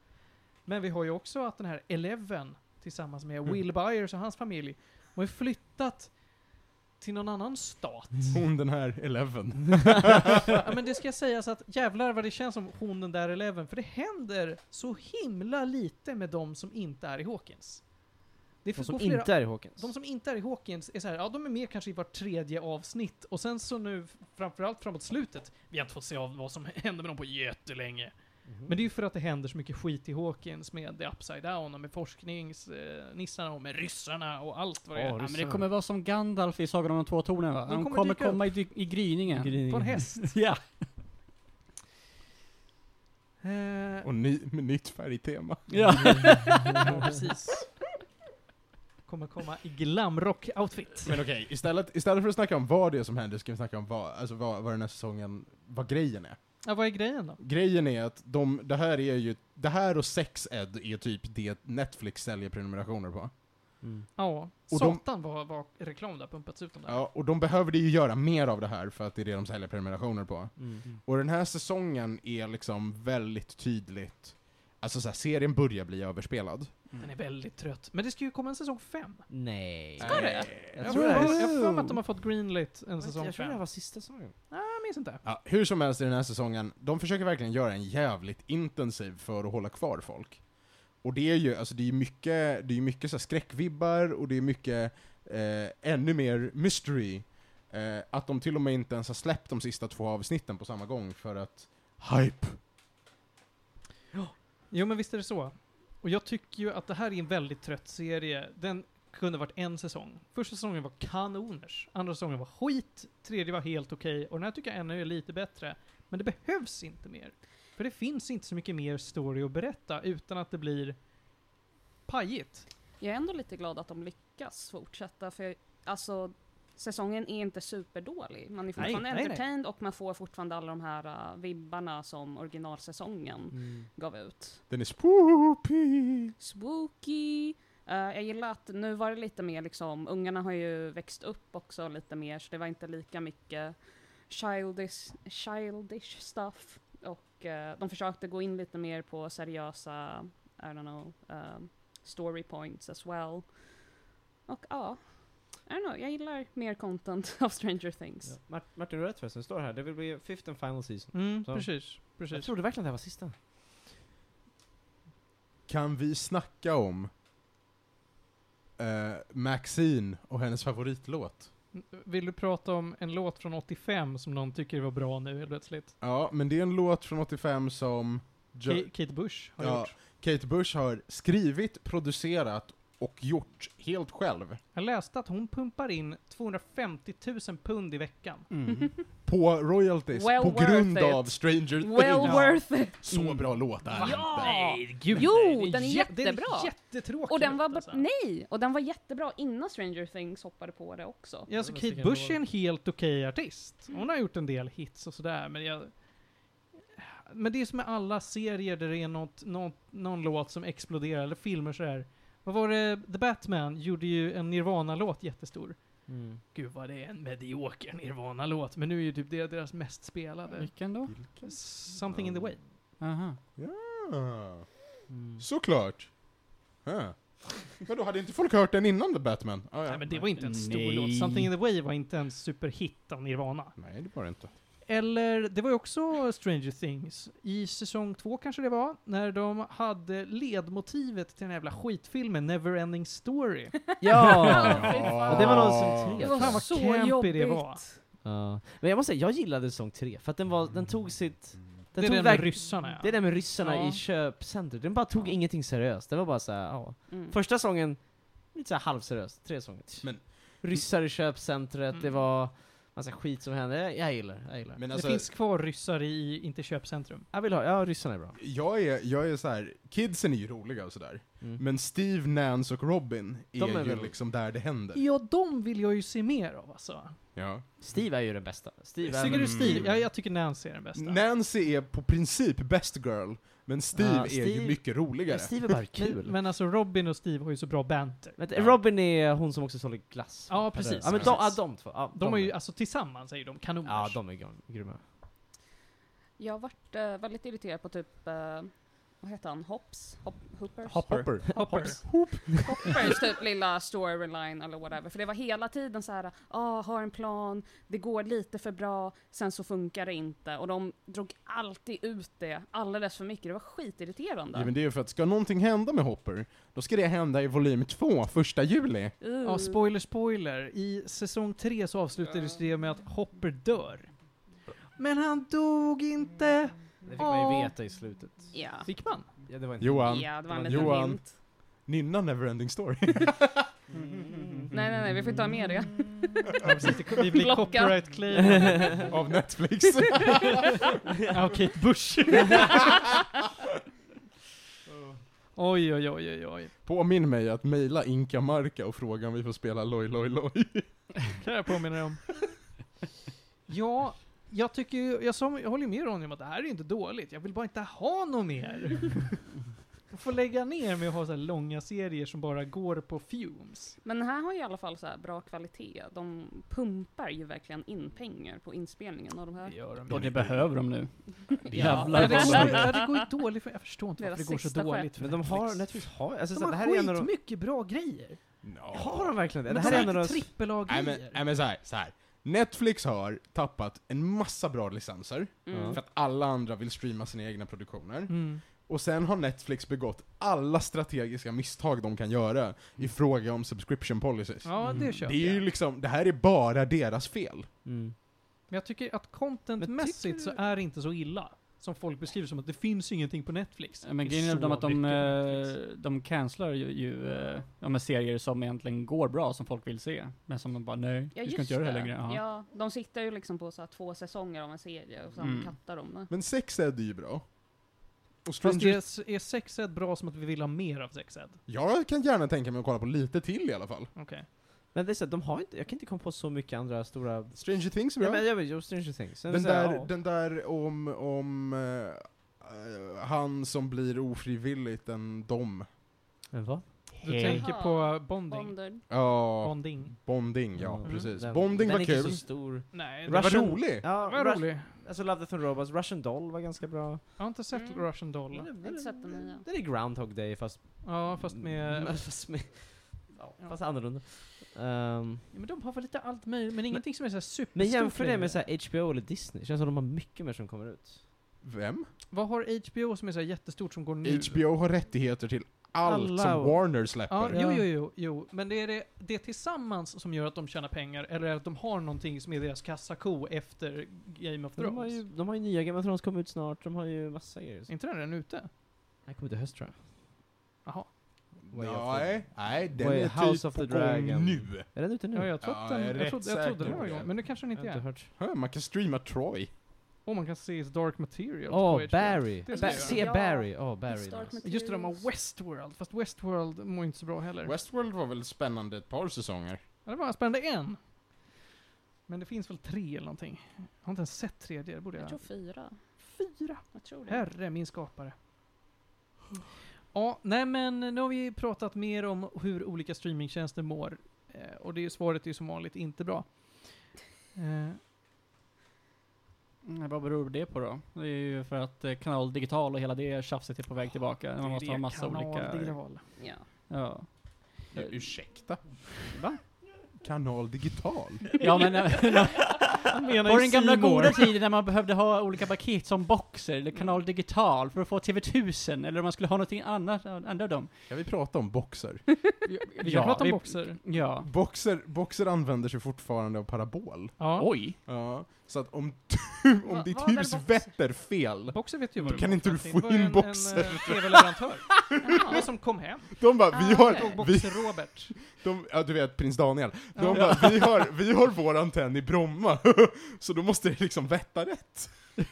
Men vi har ju också att den här Eleven tillsammans med
Mm.
Will Byers och hans familj har ju flyttat till någon annan stat.
Hon den här Eleven.
Ja, men det ska sägas att jävlar vad det känns som hon den där eleven, för det händer så himla lite med de som inte är i Hawkins. Det
De som
går flera-
inte är i Hawkins?
de som inte är i Hawkins är så här, ja de är med kanske i vart tredje avsnitt och sen så nu framförallt framåt slutet, vi har inte fått se av vad som hände med dem på jättelänge. Men det är ju för att det händer så mycket skit i Hawkins med the upside down och med forskningsnissarna och med ryssarna och allt vad det
ja,
är.
men det kommer vara som Gandalf i Sagan om de två tornen va?
De
De,
kommer
kommer,
dyka upp.
komma i, dy- i gryningen.
På en häst.
ja.
Eh,
Och ny, med nytt färgtema.
ja.
ja, precis. Kommer komma i glamrock-outfit.
Men okej, istället, istället för att snacka om vad det är som händer, ska vi snacka om vad, alltså vad, vad den här säsongen, vad grejen är.
Ja, vad är grejen då?
Grejen är att de, det här är ju, det här och sex-ed är typ det Netflix säljer prenumerationer på.
Mm.
Ja,
Och de-
satan vad, vad reklam det har pumpats ut om det här.
Ja, och de behövde ju göra mer av det här för att det är det de säljer prenumerationer på.
Mm.
Och den här säsongen är liksom väldigt tydligt, alltså så här, serien börjar bli överspelad.
Den är väldigt trött. Men det ska ju komma en säsong 5.
Nej.
Ska
det?
Eh, Jag tror
Jag tror jag
det.
har för mig att de har fått greenlit en säsong
Jag tror det
5.
här var sista säsongen.
Jag minns inte.
Ja, hur som helst i den här säsongen, de försöker verkligen göra en jävligt intensiv för att hålla kvar folk. Och det är ju, alltså det är mycket, det är mycket så här skräckvibbar och det är mycket, eh, ännu mer mystery. Eh, att de till och med inte ens har släppt de sista två avsnitten på samma gång för att Hype!
Jo, men visst är det så. Och jag tycker ju att det här är en väldigt trött serie. Den kunde varit en säsong. Första säsongen var kanoners, andra säsongen var skit, tredje var helt okej och den här tycker jag ännu är lite bättre. Men det behövs inte mer. För det finns inte så mycket mer story att berätta utan att det blir pajigt.
Jag är ändå lite glad att de lyckas fortsätta för jag, alltså säsongen är inte superdålig. Man är fortfarande
nej, nej.
entertained och man får fortfarande alla de här uh, vibbarna som
Mm.
originalsäsongen gav ut.
Den är spoopy!
Spooky! Eh, jag gillar att nu var det lite mer liksom, ungarna har ju växt upp också lite mer så det var inte lika mycket childish, childish stuff. Och eh, de försökte gå in lite mer på seriösa, I don't know, eh, story points as well. Och ja, I don't know, jag gillar mer content av Stranger Things.
Ja. Mart- Martin, du har rätt förresten. Det står här. Det vill bli fifth and final season.
Mm,
Så.
precis.
Jag
precis.
trodde verkligen det här var sista.
Kan vi snacka om eh, Maxine och hennes favoritlåt?
Vill du prata om en låt från 85 som någon tycker var bra nu helt plötsligt?
Ja, men det är en låt från 85 som Jo-
Ka- Kate Bush har
Ja.
gjort.
Kate Bush har skrivit, producerat och gjort helt själv.
Jag läste att hon pumpar in 250 000 pund i veckan.
Mm.
På royalties,
Well
på
worth
grund
it.
av Stranger
Well
Things.
worth it!
Så bra låt är det inte.
Nej, gud,
Jo,
nej,
den är
jä-
jättebra.
Den är jättetråkig.
Och den var,
låt, alltså.
bra- nej! Och den var jättebra innan Stranger Things hoppade på det också.
Ja, alltså
Det var
Kate
säkert
Bush är
en
en helt okej artist. Hon har gjort en del hits och sådär, men jag... Men det är som med alla serier där det är något, något, någon låt som exploderar, eller filmer sådär. Vad var det? The Batman gjorde ju en Nirvana-låt jättestor. Gud vad det är en medioker Nirvana-låt, men nu är ju typ det deras mest
Mm.
spelade.
Vilken då?
Something in the way.
Aha.
Ah,
Mm.
såklart. Huh. Men då hade inte folk hört den innan The Batman? Ah, ja.
Nej, men det var inte en stor
Nej.
låt. Something in the way var inte en superhit av Nirvana.
Nej, det var det inte.
Eller, det var ju också Stranger Things. I säsong två kanske det var, när de hade ledmotivet till den här jävla skitfilmen Neverending Story.
Ja!
Ja.
Och det var någon som
Ah, Det
tre.
var
Fan, vad
så
campy det
jobbigt!
var.
Ja. Men jag måste säga, jag gillade säsong tre. För att den var, den tog sitt...
Det
Den
är
tog
den med
verk-
ryssarna ja.
Det är det med ryssarna
Ja.
i köpcentret. Den bara tog
Ja.
ingenting seriöst. Det var bara såhär, ja.
Mm.
Första sången, lite såhär halvseriöst. Tre sånger.
Men-
Ryssar i köpcentret,
Mm.
det var massa skit som hände. Jag, jag gillar jag gillar
Men
det
alltså,
finns kvar ryssar i, inte köpcentrum.
Jag vill ha, ja ryssarna är bra.
jag är, jag är så här. kidsen är ju roliga och sådär.
Mm.
Men Steve, Nance och Robin är,
De är
ju
väl-
liksom där det händer.
Ja, de vill jag ju se mer av alltså.
Ja.
Steve är ju den bästa. Steve är
Tycker du
Mm.
Steve? Ja, jag tycker Nancy är den bästa.
Nancy är på princip best girl, men Steve,
Ja,
är ju
Steve-
mycket roligare.
Men Steve är bara kul.
men, men alltså Robin och Steve har ju så bra banter.
Vänta,
Ja.
Robin är hon som också sålde glass.
Ja,
Eller-
precis.
Ja, men de,
precis.
ja, de två. Ja,
De är ju, alltså tillsammans är ju de kanoners.
Ja, de är gr- grymma.
Jag har varit eh, väldigt irriterad på typ, eh, vad heter han, Hops? Hop, Hoopers?
Hopper.
Hopper.
Hoppers typ lilla storyline eller whatever. För det var hela tiden så här, ah, har en plan, det går lite för bra, sen så funkar det inte. Och de drog alltid ut det alldeles för mycket, det var skitirriterande.
Ja, men det är ju för att ska någonting hända med Hopper, då ska det hända i volym 2, första juli.
Uh.
Ja, spoiler, spoiler. I säsong 3 så avslutades det med att Hopper dör. Men han dog inte!
Det fick man ju
Åh.
veta i slutet.
Ja.
Fick man?
Ja, det var inte
Johan,
Ja, det var en liten
Johan.
hint.
Nynna Neverending Story. Mm.
Nej, nej, nej, vi får inte ha med det.
Vi blir
Blocka.
copyright claim
Av Netflix.
av Kate Bush. oj, oj, oj, oj, oj.
Påminn mig att mejla Inka Marka och fråga om vi får spela Loj Loj Loj.
kan jag påminna dig om. Ja, jag tycker ju, jag, som, jag håller ju med Ronny om att det här är ju inte dåligt. Jag vill bara inte ha något mer. Jag får lägga ner med att ha så här långa serier som bara går på fumes.
Men här har ju i alla fall så här bra kvalitet. De pumpar ju verkligen in pengar på inspelningen av de här.
Det gör de
Och
ju.
det behöver de nu. Jävlar
Ja, det,
vad
går,
de-
ja, det går ju dåligt för, jag förstår inte varför
Deras
det går så
sista
dåligt för
Men de har,
Netflix.
Netflix har, alltså,
De
så, det
har
här är en av de,
skitmycket bra grejer.
har de verkligen det?
Men
Det här är en av de,
trippel
Nej men, nej,
A-grejer.
men så här, så här. Netflix har tappat en massa bra licenser,
Mm.
för att alla andra vill streama sina egna produktioner.
Mm.
Och sen har Netflix begått alla strategiska misstag de kan göra i fråga om subscription policies.
Ja, det
Mm.
köper
det är ju
jag.
liksom, det här är bara deras fel.
mm.
Men jag tycker att contentmässigt så
tycker-
är det inte så illa. Som folk beskriver som att det finns ingenting på Netflix.
Men
Det är
grejen är
så
de att de,
mycket på
eh,
Netflix.
de cancelar ju, ju eh, ja, men serier som egentligen går bra, som folk vill se. Men som de bara, nej,
Ja,
vi
just
ska inte göra det här längre. Ja.
Ja, de sitter ju liksom på så här två säsonger av en serie och sen
Mm.
kattar de det.
Men sex är ju bra. Och
Fast
Stranger...
är, är sexed bra som att vi vill ha mer av sexed?
Jag kan gärna tänka mig att kolla på lite till i alla fall.
Mm.
Okej.
Men det är så, att de har inte, jag kan inte komma på så mycket andra stora...
Stranger Things är bra.
Ja, men jag vet, jo, Stranger Things. Sen
den,
så här,
där,
ja.
den där om, om eh, eh, han som blir ofrivilligt en dom.
Men vad?
Du
Hej.
tänker på bonding?
Bonder.
Ja,
Bonding?
Bonding, ja
Mm.
precis.
Den-
Bonding
den
var
är inte
kul.
så stor.
Nej,
Den var
Russian-
rolig.
Ja,
det var
Rush-
rolig.
Alltså Love, Death and Robots, Russian Doll var ganska bra.
Jag har inte sett
Mm.
Russian Doll.
har inte sett den nya.
Det är Groundhog Day fast...
Ja, fast med...
Mm, Fast, med, ja, fast annorlunda. Ehm,
Ja, men de har väl lite allt möjligt, men ingenting som är såhär superstort.
men jämför det
längre.
med så här, HBO eller Disney, känns som de har mycket mer som kommer ut.
Vem?
Vad har HBO som är såhär jättestort som går nu?
HBO har rättigheter till allt
Alla
som
och-
Warner släpper.
Ja,
Ja.
jo, jo, jo, jo. Men det är det, det är tillsammans som gör att de tjänar pengar, eller är att de har någonting som är deras kassako efter Game of
De har,
Thrones.
ju, de har ju nya Game of Thrones kommer ut snart, de har ju massa grejer.
Är inte den redan ute?
Den kommer till höst tror jag.
Jaha.
Way of
Nej, nej, den
Way-
är
House
typ
of
på
the
gång
Dragon.
nu.
Är den ute nu?
Ja, jag tror
Ja,
att
jag
den,
är
jag,
rätt
trodde, jag trodde den
säker
var
på
igång,
det.
men nu kanske den
Jag har
inte
inte
är.
hört.
Hö, man kan streama Troy.
Och man kan se Dark Material
Åh,
på HBO.
Barry!
Det
Ba-
ska jag
se
göra.
Barry! Åh, Barry.
Start
nice.
med
Just det, de
Tears.
har Westworld, fast Westworld mår inte så bra heller.
Westworld var väl spännande ett par säsonger?
Ja, det var spännande en. Men det finns väl tre eller någonting. Jag har inte ens sett tredje, det borde jag...
Jag tror fyra.
Fyra!
Jag tror det.
Herre min skapare. Ja, nej men nu har vi pratat mer om hur olika streamingtjänster mår. Eh, och det är svaret är ju som vanligt inte bra. Eh,
Mm, Vad beror det på då? Det är ju för att eh, kanal digital och hela det tjafset är på väg tillbaka. Man måste ha massa olika...
kanaldigital.
Ja.
Ja.
Ja, ursäkta?
Va?
Kanal Digital?
ja men...
Han menar
På
ju
den gamla
C More.
goda tiden när man behövde ha olika paket som Boxer
Mm.
eller Kanal Digital för att få TV1000 eller om man skulle ha någonting annat, andra av dem.
Kan vi prata om Boxer?
Vi
Ja,
kan prata om
vi-
boxer.
Ja.
Boxer, Boxer använder sig fortfarande av parabol.
Ja.
Oj!
Ja, så att om, tu, om
Va-
ditt
vad är
hus
Boxer?
vetter fel,
Boxer vet ju vad
Då
det
kan
var.
inte du
Det
få
var ju
in
en-
Boxer.
En eh, tv-leverantör. Det var
Jaha.
som kom hem.
de bara vi
Ah,
har,
okej.
vi,
Boxer-Robert.
de, ja du vet prins Daniel, de
Ja.
bara vi har, vi har vår antenn i Bromma, så då måste det liksom vetta rätt på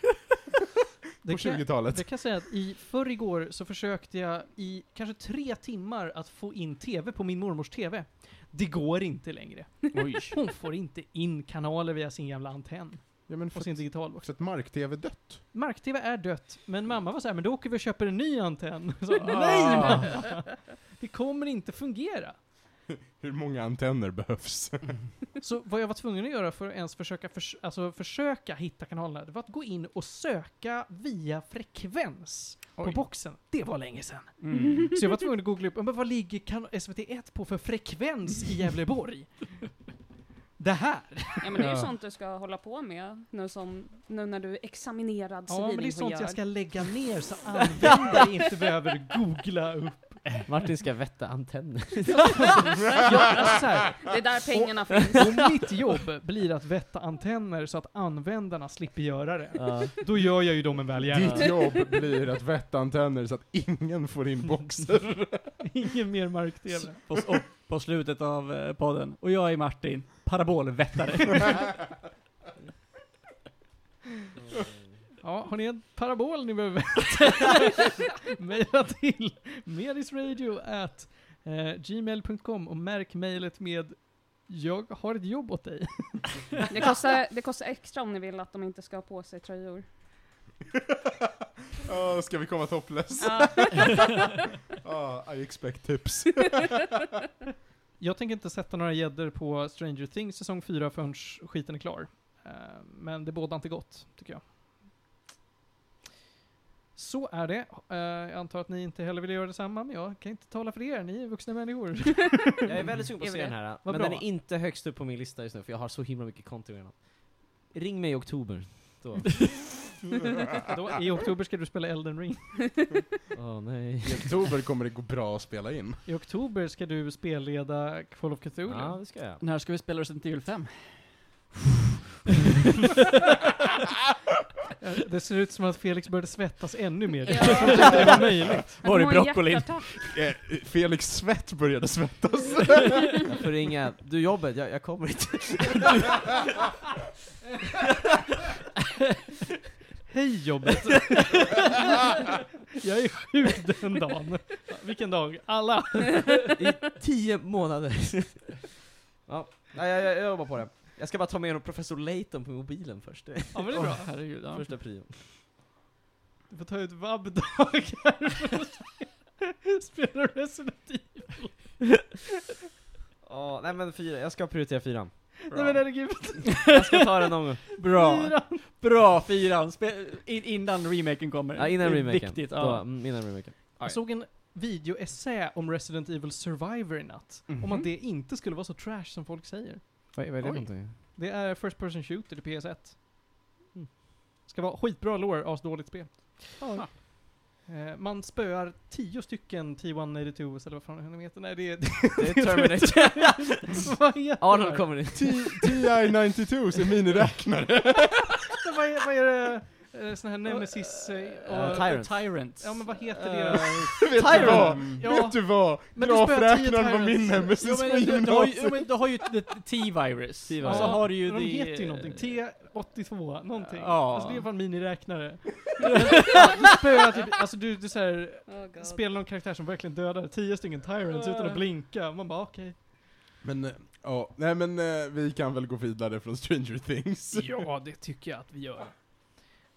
Det kan,
20-talet.
det kan jag säga att i förr igår så försökte jag i kanske tre timmar att få in tv på min mormors tv. Det går inte längre.
Oj.
Hon får inte in kanaler via sin jävla antenn
Ja men
och
för
sin digitalbox.
också att mark-tv dött.
Mark-tv är dött, men mamma var så här, men då åker vi och köper en ny antenn. Så,
Ah.
nej! Det kommer inte fungera.
Hur många antenner behövs?
Så vad jag var tvungen att göra för att ens försöka, förs alltså försöka hitta kanalerna, det var att gå in och söka via frekvens på
Oj.
boxen. Det var länge sedan.
Mm.
Så jag var tvungen att googla upp, men vad ligger kan- SVT1 på för frekvens i Gävleborg? Det här!
ja, men det är ju
Ja.
sånt du ska hålla på med nu, som, nu när du är examinerad
Ja, men det är
civilingenjör.
sånt jag ska lägga ner så användare inte behöver googla upp.
Martin ska vätta antenner.
jag, alltså, så här,
Det är där pengarna finns.
om mitt jobb blir att vätta antenner så att användarna slipper göra det,
Ja.
då gör jag ju dem en välgärning.
Ditt jobb blir att vätta antenner så att ingen får in boxer.
Ingen mer mark-tv.
På, s- och, på slutet av eh, podden. Och jag är Martin, parabolvättare.
Ja, har ni en parabol ni behöver mejla till medisradio at eh, gmail.com och märk mejlet med jag har ett jobb åt dig.
Det kostar, det kostar extra om ni vill att de inte ska ha på sig tröjor.
oh, ska vi komma topless?
Ja.
Ah, I expect tips.
Jag tänker inte sätta några gäddor på Stranger Things säsong 4 förrän skiten är klar. Eh, men det bådar inte gott, tycker jag. Så är det. Eh, jag antar att ni inte heller vill göra detsamma, men jag kan inte tala för er. Ni är vuxna människor.
Jag är väldigt sugen på att se den här, men
bra.
den är inte högst upp på min lista just nu för jag har så himla mycket konto redan. Ring mig i oktober. Då.
Då, I oktober ska du spela Elden Ring.
Åh nej.
I oktober kommer det gå bra att spela in.
I oktober ska du spelleda Call of Cthulhu.
Ja, det ska jag.
När ska vi spela Resident Evil 5?
Ja, Eh, Det ser ut som att Felix började svettas ännu mer.
Ja.
Jag trodde inte det var möjligt.
Han
Var det
kommer ha en
broccolin?
hjärtattack.
Eh, Felix Svett började svettas.
Jag får ringa. Du jobbet, jag, jag kommer inte.
Hej jobbet! Jag är sjuk den dagen. Vilken dag? Ah, Alla!
I tio månader. Ja, nej, jag, jag, jag jobbar på det. Jag ska bara ta med en professor Layton på mobilen först.
Ja men det är bra.
herregud. Ja.
Första prion.
Du får ta ut vabbdagar för att spela- spela Resident E- Evil.
Ja, nej men fyra, jag ska prioritera fyran.
Nej men herregud.
Jag ska ta den någon gång.
Bra. Bra, fyran. Spe- in, innan remaken kommer.
Ja, innan
Det är
remaken.
Viktigt,
Då,
ja.
mm, innan remaken.
Jag såg en videoessä om Resident Evil Survivor i natt.
Mhm.
Om att det inte skulle vara så trash som folk säger.
Vad, vad är
det för Det är First Person Shooter till PS1. Mm. Ska vara skitbra lår, asdåligt spel.
Ja.
Eh, man spöar tio stycken T182 eller vad fan han heter. Nej det är...
Det är Terminator.
vad heter
Arnold
det?
kommer in.
TI-92 är miniräknare.
Vad är, vad är det? Eh, Sån här Nemesis... eh,
Eh,
och-
Tyrants.
Tyrants.
Ja men vad heter
Eh,
det?
Vet du vad?
Ja,
Vet du vad?
Men du spelar
Grafräknaren var
tio
min
Tyrants.
Jo
nemesis på
men du, du, har ju, jo,
gymnasiet.
men du har ju the T-virus.
T-virus.
Och så
Ja,
har du ju
men Alltså, de
the-
heter ju någonting. T82 någonting.
Ja.
Alltså det är fan miniräknare. Men, ja, du spöar typ, alltså du, du så här,
Oh god.
spelar någon karaktär som verkligen dödar tio stycken Tyrants utan att blinka. Man bara okej.
Men, eh, ja, nej men eh, vi kan väl gå vidare från Stranger Things.
Ja, det tycker jag att vi gör.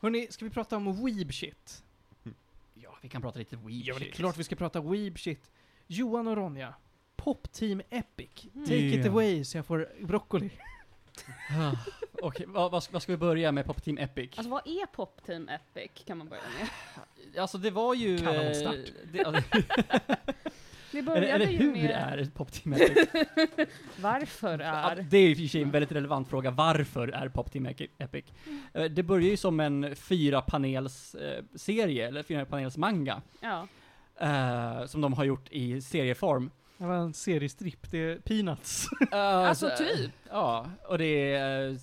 Hörni, ska vi prata om weeb shit?
Ja, vi kan prata lite weeb
Ja, men det är
shit.
klart vi ska prata weeb shit. Johan och Ronja, Popteam Epic. Take it
Yeah.
away så jag får broccoli.
Ah, Okej, vad, vad, ska- vad ska vi börja med Pop Team Epic?
Alltså vad är Pop Team Epic kan man börja med?
Alltså det var ju...
Kanonstart.
eh, det- alltså,
Det
eller,
började
eller
ju
hur
med
är Pop Team Epic?
varför
Ja,
är...
det är ju i och för sig en väldigt relevant fråga. Varför är Pop Team Epic- Epic? Eh, Det börjar ju som en fyra panels eh, serie, eller fyra panels manga.
Ja.
eh, som de har gjort i serieform.
Det var en seriestripp, det är Peanuts.
Eh,
Alltså
så-
typ.
Ja, och det är... eh,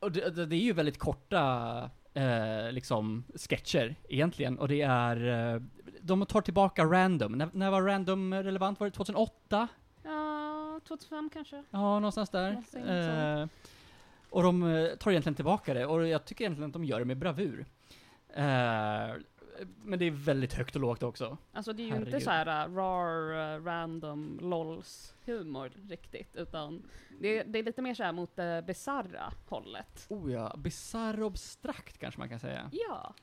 Och det, det- det är ju väldigt korta eh, liksom sketcher egentligen och det är... Eh, de tar tillbaka random. När, när var random relevant? Var det 2008?
Ja, 2005 kanske?
Ja, någonstans där.
Någonting
Eh, och de eh, tar egentligen tillbaka det och jag tycker egentligen att de gör det med bravur. Eh, men det är väldigt högt och lågt också.
Alltså det är ju inte
Herregud.
så här uh, rar, uh, random, lols humor riktigt, utan det, det är lite mer så här mot det bisarra hållet.
Oh ja, bisarr och abstrakt kanske man kan säga.
Ja.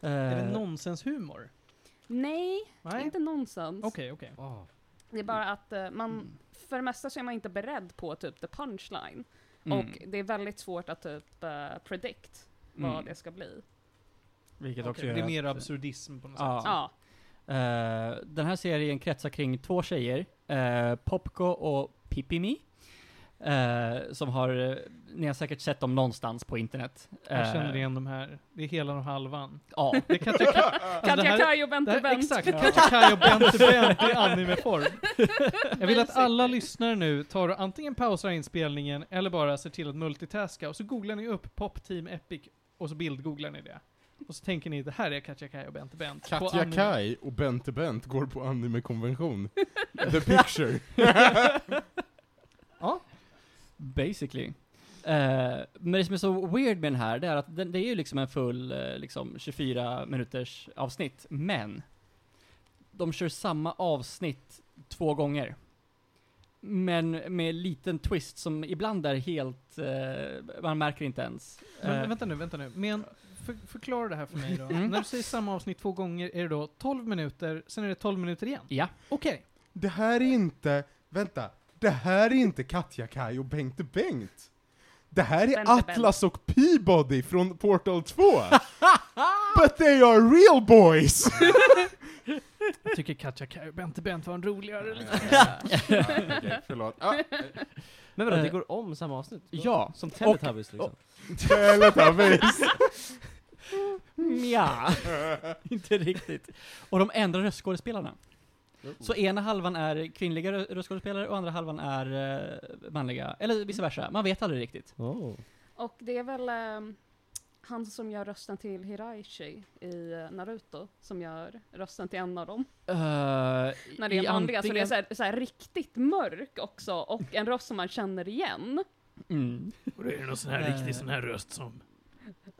Är det
Eh,
nonsenshumor?
Nej,
Nej?
inte nonsens.
Okej, Mm. okej.
Ah.
Det är bara att eh, man, för det mesta så är man inte beredd på typ the punchline.
mm,
Och det är väldigt svårt att typ eh, predict vad
mm.
det ska bli.
Vilket också
Okej,
gör
Det är
att-
mer absurdism på något
Ja.
sätt.
Ja.
Eh, den här serien kretsar kring två tjejer, eh, Popko och Pippimi. eh, som har, eh, ni har säkert sett dem någonstans på internet.
Jag
Eh,
känner igen de här. Det är hela och halvan.
Ja,
Det kanske kan... Alltså, det här
Katja
är-
Kaj och Bente
Det här,
Bent.
exakt, Katja och Bente Bent i animeform. Jag vill att
Amazing.
alla lyssnare nu tar och antingen pausar inspelningen eller bara ser till att multitaska och så googlar ni upp Pop Team Epic och så bildgooglar ni det. Och så tänker ni det här är Katja Kaj och Bente Bent. på
Katja
anime.
Kai och Bente Bent går på animekonvention. The picture.
basically. Eh, men det som är så weird med den här, det är att den, det är ju liksom en full eh, liksom 24 minuters avsnitt, men de kör samma avsnitt två gånger. Men med liten twist som ibland är helt, eh, man märker inte ens.
Men,
Eh,
vänta nu, vänta nu. Men för, förklara det här för mig då.
Mm.
När du säger samma avsnitt två gånger är det då 12 minuter, sen är det 12 minuter igen?
ja.
Okej.
Det här är inte, vänta, det här är inte Katja Kai och Bengt Bengt. Det här är
Bente Bent.
Atlas och Peabody från Portal 2. But they are real boys!
Jag tycker Katja Kaj och Bente Bent var en roligare liten.
Okej, förlåt. Ah,
Men vadå, det
Eh,
går om samma avsnitt?
ja.
Som Teletubbies liksom?
Teletubbies.
Nja, Mm, inte riktigt. Och de ändrar röstskådespelarna.
Oh.
Så ena halvan är kvinnliga rö- röstskådespelare och andra halvan är eh, manliga, eller vice versa. Man vet aldrig riktigt.
Oh.
Och det är väl ehm, han som gör rösten till Hiraishi i eh, Naruto som gör rösten till en av dem.
Eh,
När det
i
är manliga, så det är
antingen-
så här, så här riktigt mörk också och en röst som man känner igen.
Mm.
Och då är det någon sån
här riktig sån
här röst som...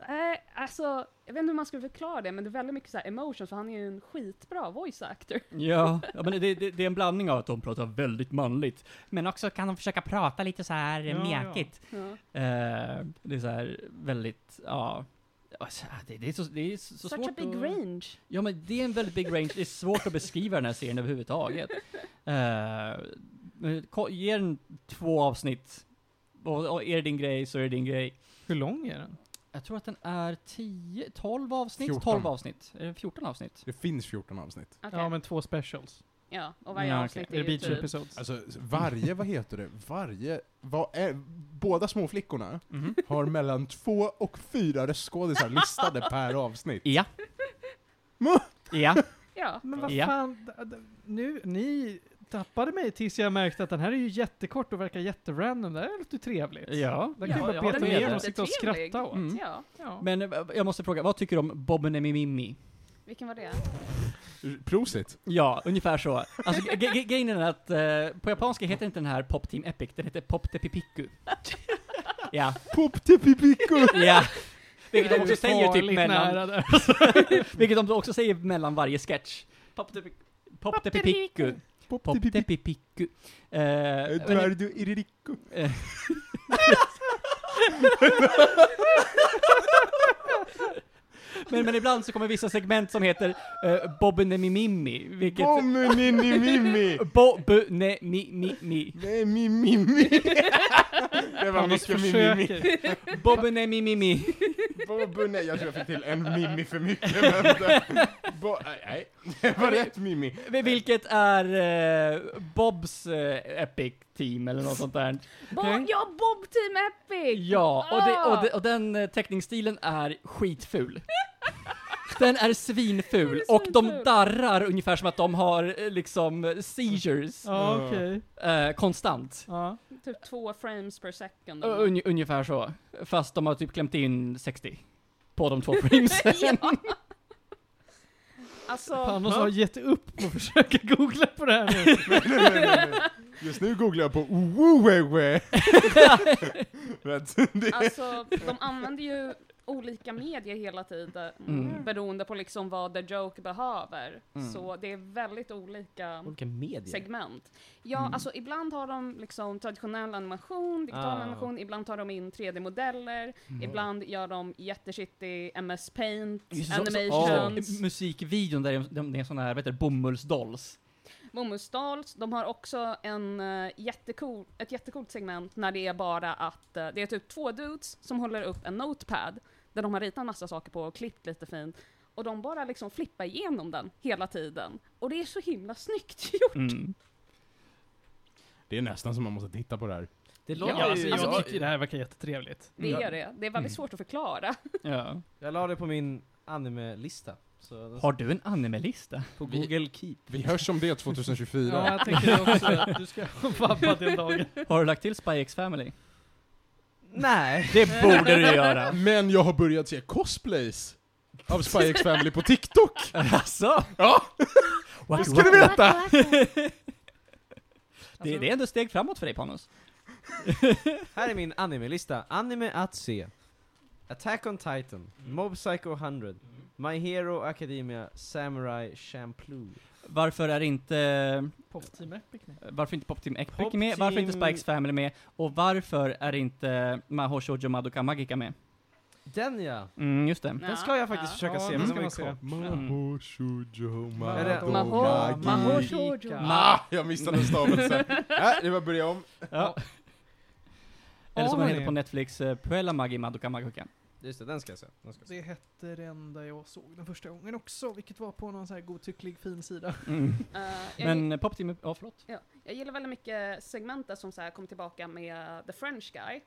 Nej, alltså, jag vet inte hur man ska förklara det, men det är väldigt mycket så här emotion, för han är ju en skitbra voice actor.
Ja, ja men det, det, det är en blandning av att de pratar väldigt manligt, men också kan de försöka prata lite så här
Ja,
ja, mjäkigt.
Ja.
Eh, det är så här väldigt, ja. Alltså, Det, det är så, det är så så
Such
svårt
a big
att...
range.
Ja men det är en väldigt big range, det är svårt att beskriva den här serien överhuvudtaget. Eh, men ko- ge den två avsnitt, och, och är det din grej så är det din grej.
Hur lång är den?
Jag tror att den är 10, 12 avsnitt?
14.
12 avsnitt? Är det 14 avsnitt?
Det finns 14 avsnitt.
Okej.
Ja, men två specials.
Ja, och varje
Ja, okej.
avsnitt
Är det
är ju
beach
typ...
episodes?
Alltså, varje, vad heter det, varje, vad är, båda småflickorna
Mhm.
har mellan två och fyra röstskådisar listade per avsnitt.
Ja.
Må-
ja.
Ja.
Men vad
Ja.
fan, d- d- nu, ni tappade mig tills jag märkte att den här är ju jättekort och verkar jätterandom. Det här är lite trevligt.
Ja.
Den kan
Ja,
ju bara
jag
beta
håller med
ner
dig.
och sitta och
Jättetrevlig.
skratta åt.
Mm.
ja.
Ja.
Men eh, jag måste fråga, vad tycker du om Bobbenemimimi?
Vilken var det?
Prosit.
Ja, ungefär så. Alltså ge- ge- grejen är att eh, på japanska heter inte den här Pop Team Epic, den heter Pop Tepipiku. Ja,
Pop till Pipiko!
ja. Vilket
Det
de
är
också säger typ
farligt
mellan,
nära där.
vilket de också säger mellan varje sketch. Pop Tepipiku. Pop Tepipiku.
Pop
Pop
till Pipiko!
Tepipiku. Eh, men-
Eduardo Iririko.
Eh. men, men ibland så kommer vissa segment som heter uh, Bobbenemimimi, vilket...
Bomuninimimi!
Bobbenemimimi.
Nej, mimimi! Det var
Anders
mycket mimimi.
försöker.
Bobbenemimimi.
Bobu, nej, jag tror jag fick till en mimmi för mycket, men... eh, Bo, nej, nej, det var rätt mimmi.
Vilket är eh, Bobs eh, Epic Team eller något sånt där.
Bo-
Okej.
Ja, Bob Team Epic!
Ja, och, det, och,
Ah!
det, och den eh, teckningsstilen är skitful. Den är svinful, och de
svinful.
darrar ungefär som att de har eh, liksom seizures
Ja, okej.
eh, konstant.
Ja.
Typ två frames per second.
Ö- Un, ungefär så. Fast de har typ klämt in 60 på de två framesen.
Ja. Alltså,
Fan, någon som har gett upp på att försöka googla på det här nu.
Nej, nej, nej, nej. Just nu googlar jag på woowewe.
alltså, de använder ju olika medier hela tiden
Mm.
beroende på liksom vad The Joke behöver.
Mm.
Så det är väldigt olika
Olika medier?
segment. Ja,
Mm.
alltså ibland har de liksom traditionell animation, digital
Ah.
animation, ibland tar de in 3D-modeller, ibland gör de jätteshittig MS Paint,
Just det, så- så-
animations.
så- Musikvideon där de, de, det är såna här, vad heter det, bomullsdolls.
Bomullsdals, de har också en, eh, jättecool, ett jättecoolt segment när det är bara att eh, det är typ två dudes som håller upp en notepad där de har ritat massa saker på och klippt lite fint och de bara liksom flippar igenom den hela tiden. Och det är så himla snyggt gjort.
Mm.
Det är nästan som man måste titta på det här.
Det
Ja,
låter
Ja, alltså,
ju...
jag
jag,
tycker det här verkar jättetrevligt.
Det
Ja.
gör det. Det är väldigt
Mm.
svårt att förklara.
Ja.
jag la det på min anime-lista. Så
Har du en anime-lista?
på
vi-
Google Keep.
Vi hörs om det 2024.
Ja, jag tänker det också. att Du ska vabba den dagen.
Har du lagt till Spy X Family?
Nej.
Det borde du göra!
Men jag har börjat se cosplays av Spy X Family på TikTok!
Alltså?
Ja!
Wow.
ska du veta!
Det,
Alltså,
det är ändå steg framåt för dig Panos.
Här är min anime-lista. Anime att se. Attack on Titan, Mob Psycho 100, My Hero Academia, Samurai Champloo.
Varför är inte,
Popteam Epic nej.
varför inte Pop Team Epic
Pop
med? Varför är inte
Team-
Spikes Family med? Och varför är inte Mahou Shoujo Madoka Magica med?
Den ja!
Mm, just det.
Den ska jag faktiskt försöka
Ja,
se,
den
men
ska
den var
man
ju
se.
kort.
Maho Shoujo
Mm.
Är det-
Madoka
Maho-
Magi.
Maho
Gika.
Shoujo.
Ah, jag missade en stavelse. Nej, det var börja om.
Ja. Eller som
Ja,
den heter
hörni.
på Netflix, eh, Puella Magi Madoka Magica.
Just det, den ska jag se. Den ska jag se.
Det hette det enda jag såg den första gången också, vilket var på någon så här godtycklig fin sida.
Mm.
Eh, jag,
Men eh, Pop Team, ja förlåt.
ja, jag gillar väldigt mycket segmentet som så här kom tillbaka med The French Guy.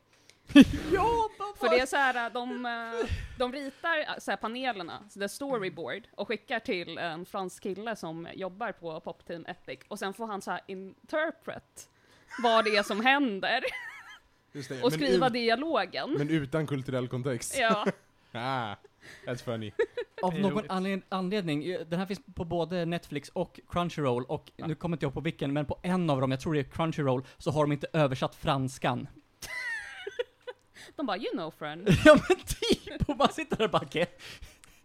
ja, vad
För det är så här, eh, de, eh, de ritar eh, så här panelerna, så det är storyboard, och skickar till en fransk kille som jobbar på Popteam Epic, och sen får han så här interpret vad det är som händer,
Just det,
och skriva
ut-
dialogen.
men utan kulturell kontext.
Ja.
Ah, that's funny.
Av
Det är
någon
roligt.
anled- anledning, eh, den här finns på både Netflix och Crunchyroll och nu kommer inte jag på vilken, men på en av dem, jag tror det är Crunchyroll, så har de inte översatt franskan.
De bara, you know friend,
ja men typ! Och man sitter där och bara "Okej."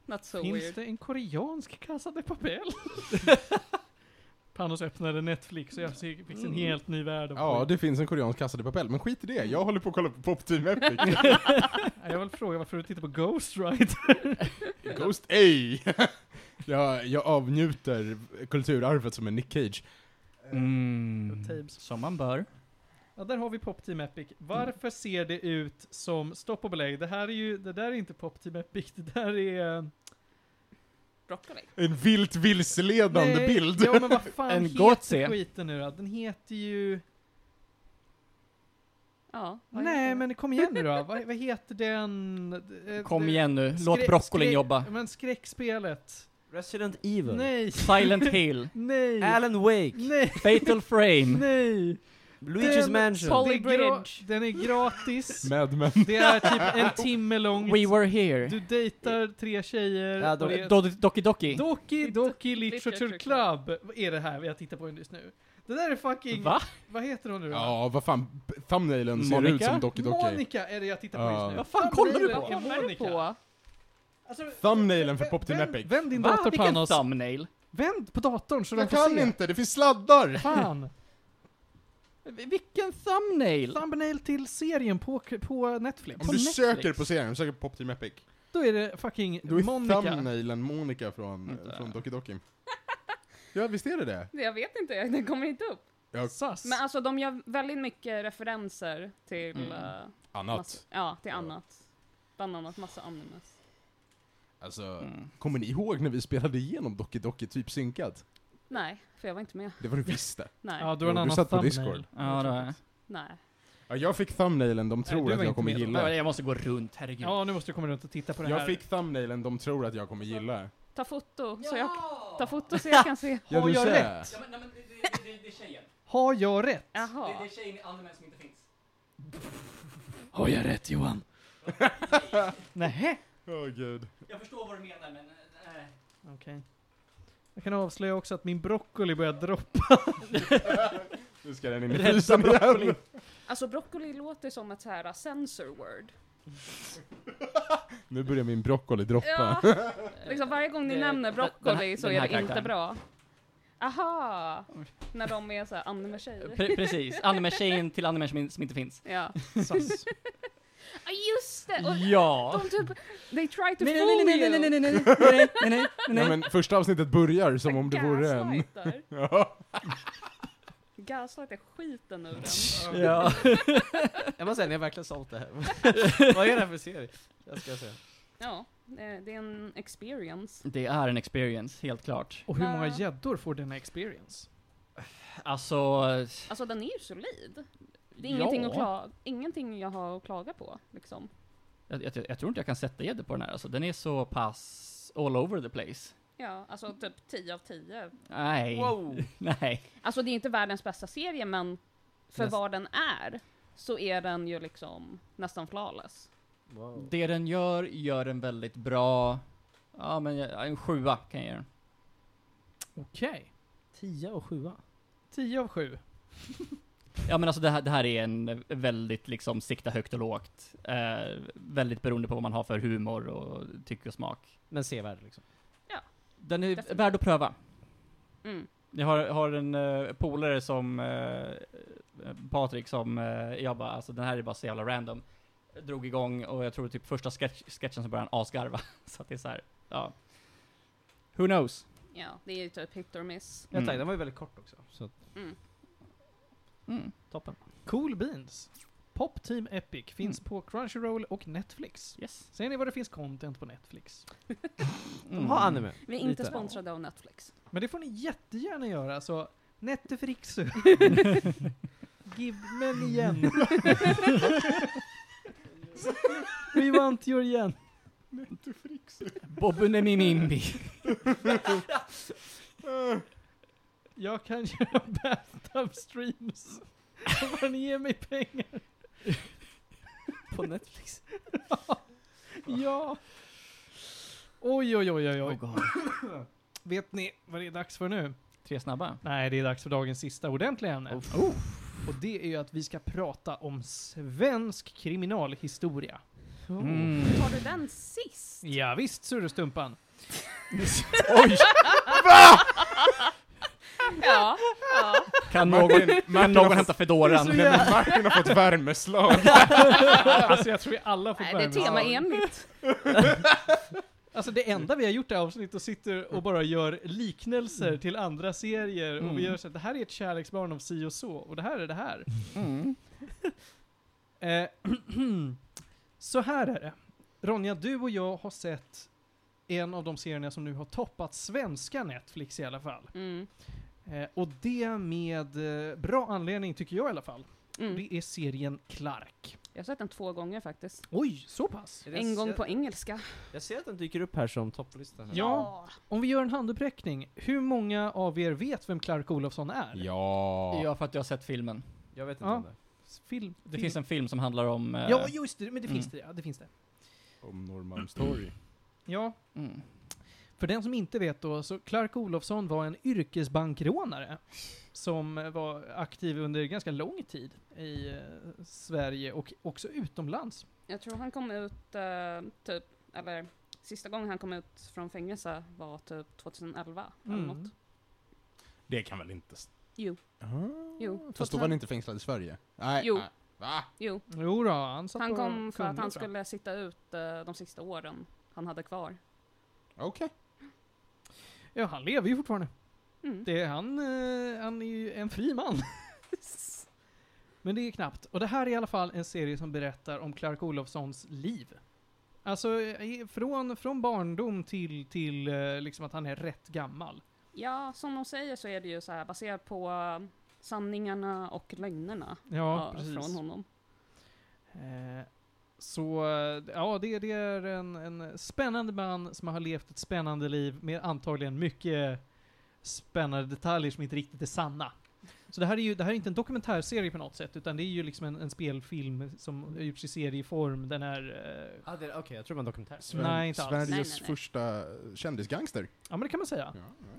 not so
Finns
weird.
det en koreansk Casa de Papel? Panos öppnade Netflix och jag fick fick en helt ny värld. av
Ja,
skit.
det finns en koreansk Casa de Papel, men skit i det. Jag håller på att kolla på Pop Team Epic.
Jag vill fråga varför du tittar på Ghost Rider?
Ghost A! jag, jag avnjuter kulturarvet som en Nick Cage.
Eh,
Mm.
Tabes.
Som man bör.
Ja, där har vi Pop Team Epic. Varför ser det ut som stopp och belägg? Det här är ju, det där är inte Pop Team Epic, det där är...
Broccoli.
En vilt vilseledande
Nej,
bild.
Ja, men vad fan
En
heter
Gotse.
skiten nu då? Den heter ju...
Ja. vad heter
Nej,
det?
men kom igen nu då. vad, vad heter den? Eh,
Kom
det-
igen nu, låt
skrä-
broccolin
skrä-
jobba.
Men skräckspelet.
Resident Evil.
Nej.
Silent Hill,
Nej.
Alan Wake.
Nej.
Fatal Frame.
Nej.
Luigi's
Den-
Mansion.
Sol-
Det är gra-
Bridge.
Den är gratis.
Mad Men.
Det är typ en timme lång.
We were here.
Du dejtar tre tjejer.
Ja, de-
och det är-
Do- Doki Doki.
Doki Doki Literature
Literature
Club Vad är det här jag tittar på just nu. Det där är fucking...
Va?
Vad heter hon nu då?
Ja, vad fan. Thumbnailen ser
Monica?
ut som Doki Doki.
Monica är det jag tittar på
Ja.
just nu.
Vad fan kollar du
Thumbnailen
på?
är
Vad kollar du
Monica.
på?
Alltså,
Thumbnailen för Pop Team
vänd-
Epic.
Vänd din
Va?
dator
Vilken
Panos.
thumbnail?
Vänd på datorn så de
Jag
får
kan
se.
inte, det finns sladdar!
Fan.
V- Vilken thumbnail?
Thumbnail till serien på, på Netflix.
Om du
Netflix.
söker på serien, söker på Pop Team Epic,
Då är det fucking
då är
Monica.
thumbnailen Monica från,
Vänta.
från Doki Doki. Ja, visst är det det?
Jag vet inte, den kommer inte upp.
Sass.
Men alltså de gör väldigt mycket referenser till,
Mm.
eh, massa,
Annat.
ja, till
Ja.
annat. Bland annat massa animes.
Alltså,
Mm.
kommer ni ihåg när vi spelade igenom Doki Doki typ synkat?
Nej, för jag var inte med.
Det var du visst det.
Nej,
Ja, du har en
Jo, du
annan
satt på
thumbnail.
Discord.
Ja, det var jag.
nej.
Ja, jag fick thumbnailen de
du
tror
var
att
inte
jag kommer
Mm.
med.
gilla.
Jag måste gå runt, herregud.
Ja, nu måste du komma runt och titta på det här.
Jag fick thumbnailen de tror att jag kommer gilla.
Ta foto, så jag, ta foto så jag kan se.
Har jag
rätt?
men, nej, men det, det, det, det är tjejen.
Har jag rätt?
Jaha.
tjejen i anime som inte finns. Har jag rätt Johan?
Nähä?
Åh gud.
Jag förstår vad du menar men... eh,
Okej. Jag kan avslöja också att min broccoli börjar droppa.
Nu ska den in i frysen igen.
Alltså broccoli låter som ett så här sensor word.
Nu börjar min broccoli droppa.
Ja, liksom varje gång ni
Det-
nämner
den här-
broccoli så
den
är
här
det inte
karaktären.
bra. Aha! När de är så här anime-tjejer.
Pre precis, anime-tjejen till anime som, in, som inte finns.
Ja.
Sass.
Ah, Just det! Och
Ja!
de typ, they try to
Nej,
fool
nej, nej, nej, nej, nej,
you.
nej, nej, nej, nej, nej, nej,
Nej, men första avsnittet börjar som om det vore en...
Gaslightar.
Ja.
Gaslight är skiten ur den.
Ja.
Jag måste säga, ni har verkligen sålt det här. Vad är det här för serie? Jag ska se.
Ja, eh, det är en experience.
Det är en experience, helt klart.
Och hur många
Ja.
gäddor får denna experience?
Alltså,
Alltså den är ju solid. Det är ingenting,
Ja.
att klaga, ingenting jag har att klaga på liksom.
Jag, jag, jag tror inte jag kan sätta gäddor på den här alltså. Den är så pass all over the place.
Ja, alltså typ 10 av 10.
Nej.
Wow.
Nej.
Alltså det är inte världens bästa serie men för
Näst-
vad den är så är den ju liksom nästan flawless.
Wow.
Det den gör, gör den väldigt bra. Ja, men jag- en sjua kan jag ge den.
Okej.
10 och 7
10 av 7.
Ja men alltså det här, det här är en väldigt liksom sikta högt och lågt. Eh, väldigt beroende på vad man har för humor och tycke och smak.
Men sevärd liksom.
Den är
Definitivt.
värd att pröva.
Mm.
Jag har, har en eh, polare som, eh, Patrik som, eh, jag bara alltså den här är bara så jävla random. Drog igång och jag tror typ första sketch, sketchen så började han asgarva. Så att det är så här, ja. Who knows?
Ja, det är ju typ hit or miss.
Ja, tack,
Mm.
den var ju väldigt kort också. Så att-
Mm.
toppen. Mm.
Cool Beans. Pop Team Epic finns på Crunchyroll och Netflix.
Yes.
Ser ni vad det finns content på Netflix?
De
Mm.
har anime.
Vi är inte
Lite.
sponsrade av Netflix.
Men det får ni jättegärna göra, alltså, så Netflix. Give men igen. We want your igen.
Bobunemimimbi.
Jag kan göra bathtub streams. Bara ni ger mig pengar.
På Netflix.
Ja. Oj, oj, oj, oj,
Oh
oj.
God.
Vet ni vad det är dags för nu?
Tre snabba.
Nej, det är dags för dagens sista ordentliga ämne. Oh. Och det är ju att vi ska prata om svensk kriminalhistoria.
Oh.
Mm.
Tar du den sist?
Ja, visst, surrestumpan.
Ja. ja.
Kan någon,
Martin,
kan
Martin, har
någon
fått-
hämta fedoran?
Nej, men Martin har fått värmeslag.
alltså jag tror vi alla fått
Nej, det är
värmeslag.
temaenligt.
Alltså det enda vi har gjort i det här avsnittet och sitter och bara gör liknelser till andra serier och
Mm.
vi gör så att det här är ett kärleksbarn av si och så och det här är det här.
Mm.
Eh, så här är det. Ronja, du och jag har sett en av de serierna som nu har toppat svenska Netflix i alla fall.
Mm.
Eh, och det med eh, bra anledning tycker jag i alla fall.
Mm.
Det är serien Clark.
Jag har sett den två gånger faktiskt.
Oj, så pass?
En gång på engelska.
Jag ser att den dyker upp här som topplista. Här.
Ja. Om vi gör en handuppräckning, hur många av er vet vem Clark Olofsson är?
ja.
Ja, för att jag har sett filmen.
Jag vet inte
Ja.
om det.
Film,
Det finns en film som handlar om... eh,
Ja, just det, men det
Mm.
finns det. Ja, det finns det.
Om Norrmalmstorg.
Ja,
mm.
för den som inte vet då, så Clark Olofsson var en yrkesbankrånare som eh, var aktiv under ganska lång tid i eh, Sverige och också utomlands.
Jag tror han kom ut, eh, typ, eller sista gången han kom ut från fängelse var typ 2011 eller
Mm.
något.
Det kan väl inte... st-
Jo,
Ah.
Jo,
Fast då var han inte fängslad i Sverige? Nej.
Jo.
nej. Va?
jo.
Jo då, han satt
Han
på
kom för att
Kumla,
han
tror jag.
skulle sitta ut eh, de sista åren han hade kvar.
Okej.
Ja, han lever ju fortfarande.
Mm.
Det är han, eh, han är ju en fri man. Men det är knappt. Och det här är i alla fall en serie som berättar om Clark Olofssons liv. Alltså eh, från, från barndom till, till eh, liksom att han är rätt gammal.
Ja, som de säger så är det ju så här baserat på eh, sanningarna och lögnerna
Ja,
eh, från
precis.
honom.
Eh, så eh, ja, det, det är en, en spännande man som har levt ett spännande liv med antagligen mycket spännande detaljer som inte riktigt är sanna. Så det här är ju det här är inte en dokumentärserie på något sätt, utan det är ju liksom en, en spelfilm som har gjorts i serieform. Den är... Eh,
Ah, det- Okej, jag tror det var en dokumentär.
Sver-
Nej, inte alls.
Sveriges
Nej, nej, nej.
första kändisgangster.
ja, men det kan man säga.
Ja,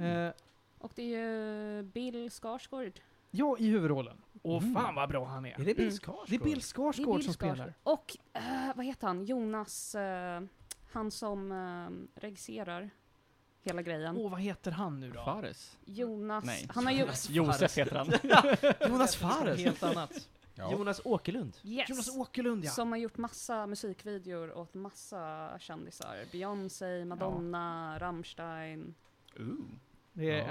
Eh,
Och det är ju Bill Skarsgård.
ja, i huvudrollen. Och
Mm.
fan vad bra han är.
Är det Bill
Mm.
Skarsgård?
Det är Bill
Det är
Skarsgård
Bill
som
Skarsgård.
spelar.
Och eh, vad heter han? Jonas, eh, han som eh, regisserar hela grejen.
Åh, vad heter han nu då?
Fares?
Jonas,
Nej.
han har ju...
Josef heter han.
Jonas Fares.
Helt annat.
ja.
Jonas Åkerlund.
Yes.
Jonas Åkerlund, ja.
Som har gjort massa musikvideor åt massa kändisar. Beyoncé, Madonna, Rammstein.
Det är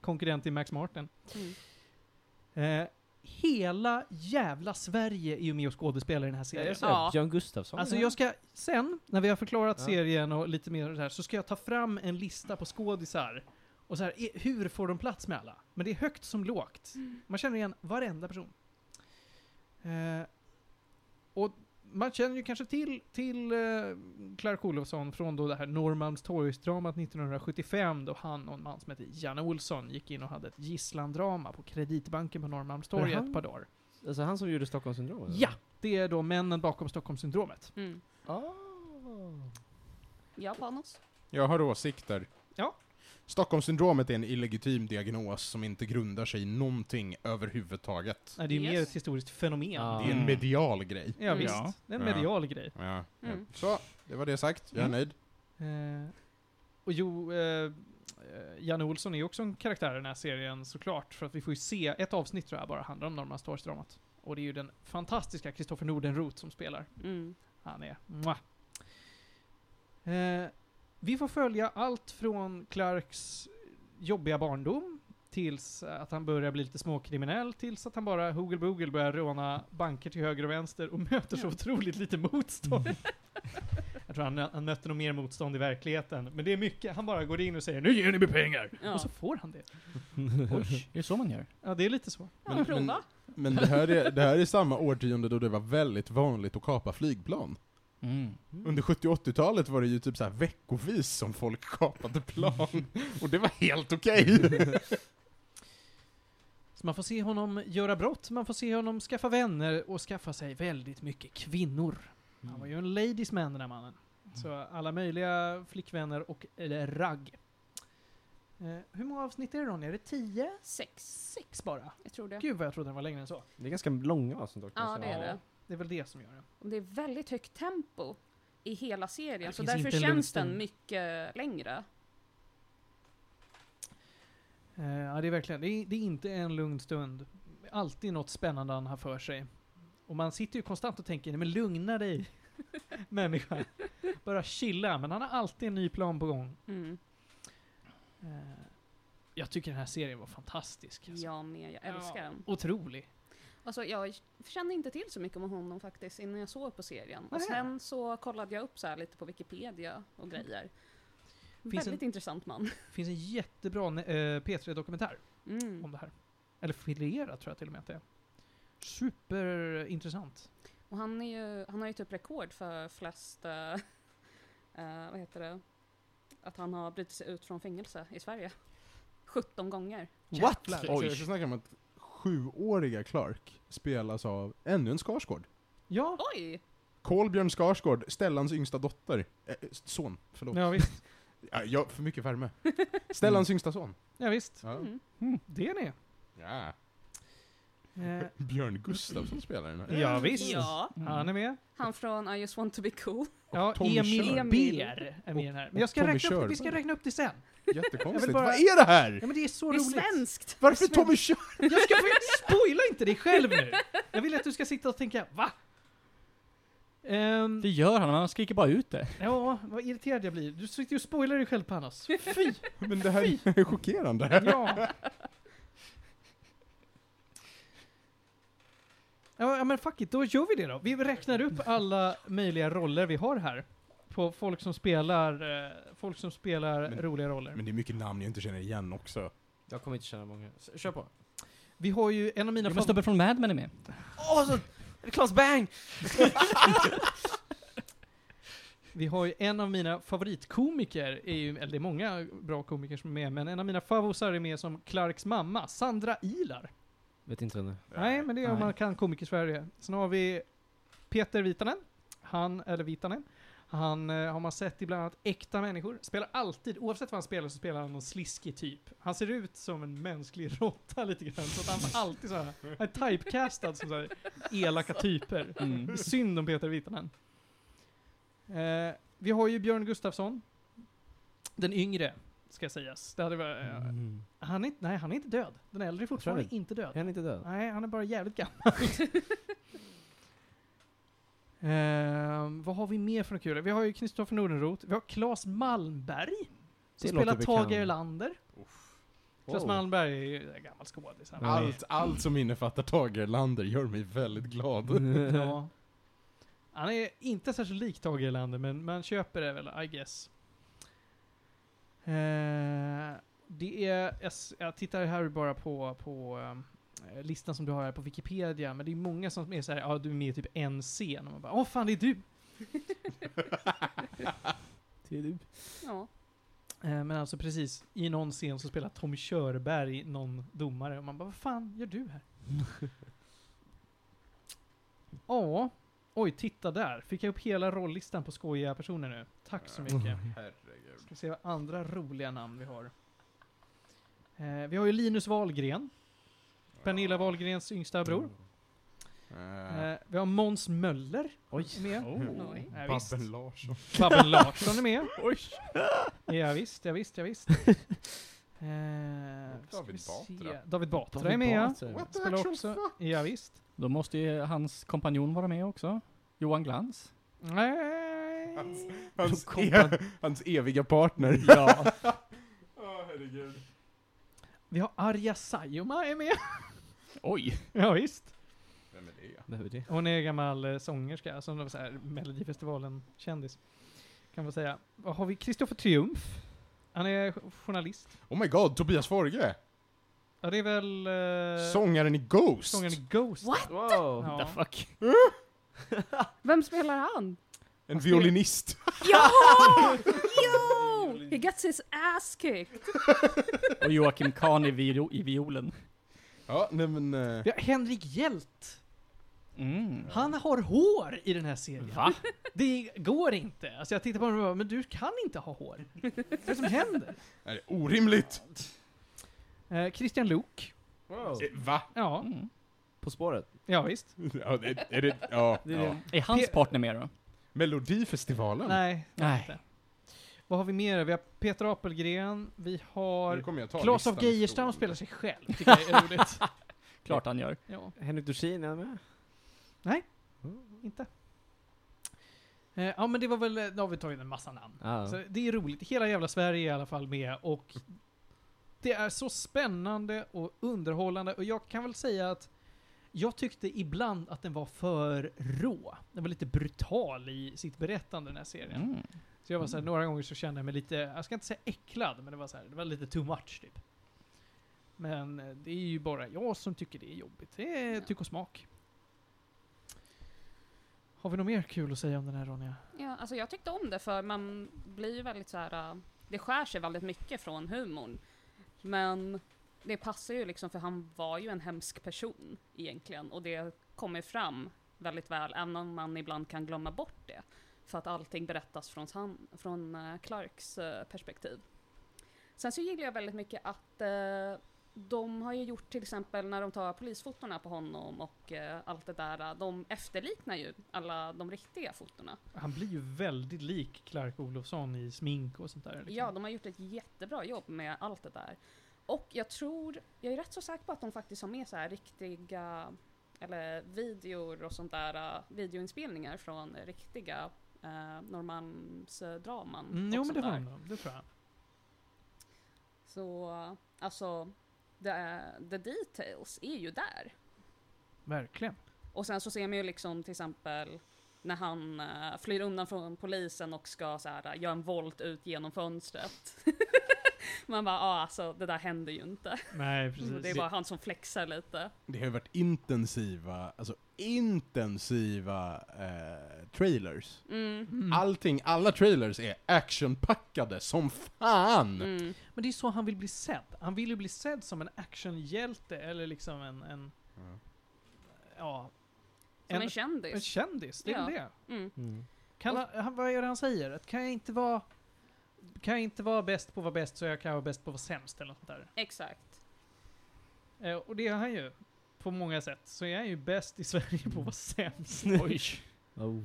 konkurrent till Max Martin.
Mm.
Eh, hela jävla Sverige är ju med och skådespelar i den här serien.
Jag ser
Ja.
Björn Gustafsson.
Alltså jag ska, sen, när vi har förklarat
Ja.
serien och lite mer det här, så ska jag ta fram en lista på skådisar. Och så här, i- hur får de plats med alla? Men det är högt som lågt. Man känner igen varenda person. Eh, och man känner ju kanske till, till eh, Clark Olofsson från då det här Norrmalmstorgsdramat 1975 då han och en man som heter Janne Olsson gick in och hade ett gisslandrama på Kreditbanken på Norrmalmstorget
Jaha.
ett par dagar.
Alltså han som gjorde Stockholmssyndromet? eller?
Ja! Det är då männen bakom Stockholmssyndromet.
Mm.
Ah.
Ja, Panos.
Jag har åsikter.
Ja.
Stockholmssyndromet är en illegitim diagnos som inte grundar sig i någonting överhuvudtaget.
Nej, det är ju
Yes.
mer ett historiskt fenomen.
Ja.
Ja,
Det är en
Mm.
medial grej.
Mm.
visst.
Ja.
Det är en
Ja.
medial grej.
Ja. ja.
Mm.
Så, det var det sagt. Jag är
Mm.
nöjd.
Eh, och jo, eh, eh, Janne Olsson är ju också en karaktär i den här serien såklart, för att vi får ju se, ett avsnitt tror jag bara handlar om Norrmalmstorgsdramat. Och det är ju den fantastiska Kristoffer Nordenroth som spelar.
Mm.
Han är... Mwah. Eh, vi får följa allt från Clarks jobbiga barndom tills att han börjar bli lite småkriminell, tills att han bara hugel bugel börjar råna banker till höger och vänster och möter så otroligt lite motstånd. Jag tror han, han mötte nog mer motstånd i verkligheten, men det är mycket. Han bara går in och säger 'Nu ger ni mig pengar!'
Ja.
Och så får han det.
Oj, är det så man gör?
Ja, det är lite så.
Ja,
Men-
prova.
men- Men det här, är, det här är samma årtionde då det var väldigt vanligt att kapa flygplan.
Mm.
Under 70 och 80-talet var det ju typ så här veckovis som folk kapade plan. Och det var helt okej.
Så man får se honom göra brott, man får se honom skaffa vänner och skaffa sig väldigt mycket kvinnor. Han
Mm.
var ju en ladies man den här mannen. Så alla möjliga flickvänner och eller ragg. Eh, hur många avsnitt är det Ronny? Är det tio?
Sex,
Sex bara?
jag tror det.
Gud vad jag trodde den var längre än så.
Det är ganska långa avsnitt dock.
Ja,
alltså.
det är det.
Det är väl det som gör det.
Och det är väldigt högt tempo i hela serien,
Det
så
finns
därför
inte en lugn
känns den
stund.
mycket längre.
Eh, ja, det är verkligen, det är, det är inte en lugn stund. Alltid något spännande han har för sig. Och man sitter ju konstant och tänker, nej men lugna dig människa. Bara chilla, men han har alltid en ny plan på gång.
Mm.
Eh, jag tycker den här serien var fantastisk. alltså.
Jag med, jag älskar den.
Otrolig.
Alltså jag kände inte till så mycket om honom faktiskt innan jag såg på serien. Och
Nähä. Mm.
sen så kollade jag upp så här lite på Wikipedia och grejer.
Finns
Väldigt intressant man.
Det finns en jättebra eh, P3-dokumentär
Mm.
om det här. Eller filera tror jag till och med att det är. Superintressant.
Och han, är ju, han har ju typ rekord för flest, eh, eh, vad heter det, att han har brutit sig ut från fängelse i Sverige. 17 gånger.
What?
Jävlar.
Så jag ska snacka om att sjuåriga Clark spelas av ännu en Skarsgård.
Ja,
Oj!
Kolbjörn Skarsgård, Stellans yngsta dotter. Eh, eh, son, förlåt.
ja visst.
Ja, jag, för mycket värme. Stellans yngsta son.
Ja, visst.
Ja.
Mm.
Det är ni.
Ja.
Eh,
Björn Gustafsson spelar den här.
ja, visst.
Mm. Ja,
Han är med.
han från I just want to be cool.
Ja,
Tommy
Emil
Körberg.
Ber är med i den här. Men jag ska
Tommy
räkna upp, vi ska
Körberg.
räkna upp det sen. Jag
Jättekonstigt.
vill bara-
Vad är det här?
Ja, men det är så
Det är
roligt.
svenskt!
Varför Tommy Körberg?
Jag ska få, spoila inte dig själv nu. Jag vill att du ska sitta och tänka, va? Ehm,
Det gör han, men han skriker bara ut det.
ja, vad irriterad jag blir. Du sitter ju och spoilar dig själv Panos. Fy!
Men det här är chockerande.
Ja. Ja ja, men fuck it, då gör vi det då. Vi räknar upp alla möjliga roller vi har här. På folk som spelar, eh, folk som spelar
Men-
roliga roller.
Men det är mycket namn jag inte känner igen också.
Jag kommer inte känna många. S- Kör på.
vi har ju en av mina
Det var snubben från Mad Men är med.
Åh, så... Klas Bang!
Vi har ju en av mina favoritkomiker, är ju, eller det är många bra komiker som är med, men en av mina favosar är med som Clarks mamma, Sandra Ilar.
Vet inte henne.
Nej, men det är om
Nej.
man kan komikersverige. Sen har vi Peter Vitanen. Han, eller Vitanen. Han eh, har man sett i bland annat Äkta Människor. Spelar alltid, oavsett vad han spelar så spelar han någon sliskig typ. Han ser ut som en mänsklig råtta lite grann, så att han är alltid så här. Han är typecastad som så här elaka typer. Det är synd om Peter Vitanen. Eh, vi har ju Björn Gustafsson. Den yngre, ska sägas. Det hade varit, eh,
Mm.
han, är, inte- nej, han är inte död. Den äldre är fortfarande
det.
inte död.
Är han inte död?
Nej, han är bara jävligt gammal. Ehm, vad har vi mer för något kul? Vi har ju Kristoffer Nordenroth, vi har Claes Malmberg, som
Det
spelar
låter bekant.
Tage Erlander. Claes
Wow.
Malmberg är ju en gammal skådis. han.
Ja.
Eh, Allt, allt som innefattar Tage Erlander gör mig väldigt
Mm.
glad.
Ja. Han är inte särskilt lik Tage Erlander, men man köper det väl, I guess. Eh, Det är, jag s- jag tittar här bara på, på eh, listan som du har här på Wikipedia, men det är många som är så här, ja du är med i typ en scen, och man bara, åh fan det är du!
Det är du.
Ja.
Eh, Men alltså precis, i någon scen så spelar Tommy Körberg någon domare och man bara vad fan gör du här? Ja, oj titta där. Fick jag upp hela rollistan på skojiga personer nu. Tack så mycket.
Mm. Herregud.
Ska se vad andra roliga namn vi har. Eh, vi har ju Linus Wahlgren, Pernilla Wahlgrens yngsta bror.
Eh,
Eh, vi har Måns Möller
Oj.
med.
Oh.
Oj.
Ja, visst.
Babben Larsson.
Babben Larsson är med. Oj. Ja, visst, ja, visst, ja, visst. Eh, ska
David
vi se.
Batra.
David Batra
David
är med ja.
Batra.
What the
Eh, Spelar
actual
också.
fuck?
Ja, visst.
Då måste ju hans kompanjon vara med också. Johan Glans.
Nej.
Hans, hans,
kom
e hans eviga partner.
Ja.
Åh herregud.
Vi har Arja Saijonmaa är med.
Oj.
Ja, visst.
Vem är det?
Vem är det?
Hon är gammal eh, sångerska, som var så här Melodifestivalen-kändis. Kan man säga. Vad har vi? Kristoffer Triumf. Han är jo- journalist.
Oh my god, Tobias Forge!
Ja, det är väl... eh,
Sångaren i Ghost!
Sångaren i Ghost.
What?
Wow!
Ja.
The fuck.
Vem spelar han?
En violinist.
Ja! Jo! He gets his ass kicked.
Och Joakim Kahn i, viro- i violen.
ja, nej men... eh,
Vi har Henrik Hjelt.
Mm.
Han har hår i den här serien.
Va?
Det går inte. Alltså jag tittar på honom och bara, men du kan inte ha hår. Vad är det som händer?
är det orimligt?
Eh, Christian Luuk.
Wow.
Eh, Va?
Ja,
Mm.
På spåret?
ja visst.
Ja, det, är det, ja,
Det är
ja.
det.
Är hans
Pe-
partner med då?
Melodifestivalen?
Nej, det var
Nej.
inte. Vad har vi mer? Vi har Peter Apelgren, vi
Nu
har...
kommer jag ta
Claes av
listan
Geijerstam
ifrån.
spelar sig själv, tycker jag är roligt.
Klart han gör.
ja,
Henrik Dorsin, är han med?
inte. Eh, ja men det var väl, nu har vi tagit en massa namn.
Ja.
Så det är roligt. Hela jävla Sverige är i alla fall med och det är så spännande och underhållande och jag kan väl säga att jag tyckte ibland att den var för rå. Den var lite brutal i sitt berättande den här serien.
Mm.
Så jag var så här, några gånger så kände jag mig lite, jag ska inte säga äcklad, men det var så här, det var lite too much typ. Men eh, det är ju bara jag som tycker det är jobbigt. Det är tyck och smak. Har vi något mer kul att säga om den här Ronja?
Ja, alltså jag tyckte om det för man blir ju väldigt så här. äh, det skär sig väldigt mycket från humorn. Men det passar ju liksom för han var ju en hemsk person egentligen och det kommer fram väldigt väl även om man ibland kan glömma bort det. För att allting berättas från, han, från äh, Clarks äh, perspektiv. Sen så gillar jag väldigt mycket att äh, de har ju gjort till exempel när de tar polisfotorna på honom och äh, allt det där. äh, De efterliknar ju alla de riktiga fotorna.
Han blir ju väldigt lik Clark Olofsson i smink och sånt där. liksom.
Ja, de har gjort ett jättebra jobb med allt det där. Och jag tror, jag är rätt så säker på att de faktiskt har med så här riktiga, eller videor och sånt där, eh, videoinspelningar från riktiga eh, Norrmalmsdraman.
mm,
och
jo men
sånt
det har
där.
han nog, det tror jag.
Så alltså, det är, the details är ju där.
Verkligen.
Och sen så ser man ju liksom till exempel när han eh, flyr undan från polisen och ska så här, äh, göra en volt ut genom fönstret. man bara, ah, alltså det där händer ju inte.
Nej
Och
precis.
Mm, Det är bara han som flexar lite.
Det har ju varit intensiva, alltså intensiva eh, trailers.
Mm.
Mm.
Allting, alla trailers är actionpackade som fan!
Mm.
Men det är så han vill bli sedd. Han vill ju bli sedd som en actionhjälte eller liksom en... en
Ja.
ja. En-
Som en
En
kändis.
kändis, det är väl
Ja.
det.
Mm.
Mm.
Kan han, han, vad är det han säger? Att kan jag inte vara... Kan jag inte vara bäst på att vara bäst så jag kan vara bäst på att vara sämst eller något sånt där.
Exakt.
Eh, och det är han ju. På många sätt. Så är han ju bäst i Sverige på att vara sämst.
Oj.
Oh.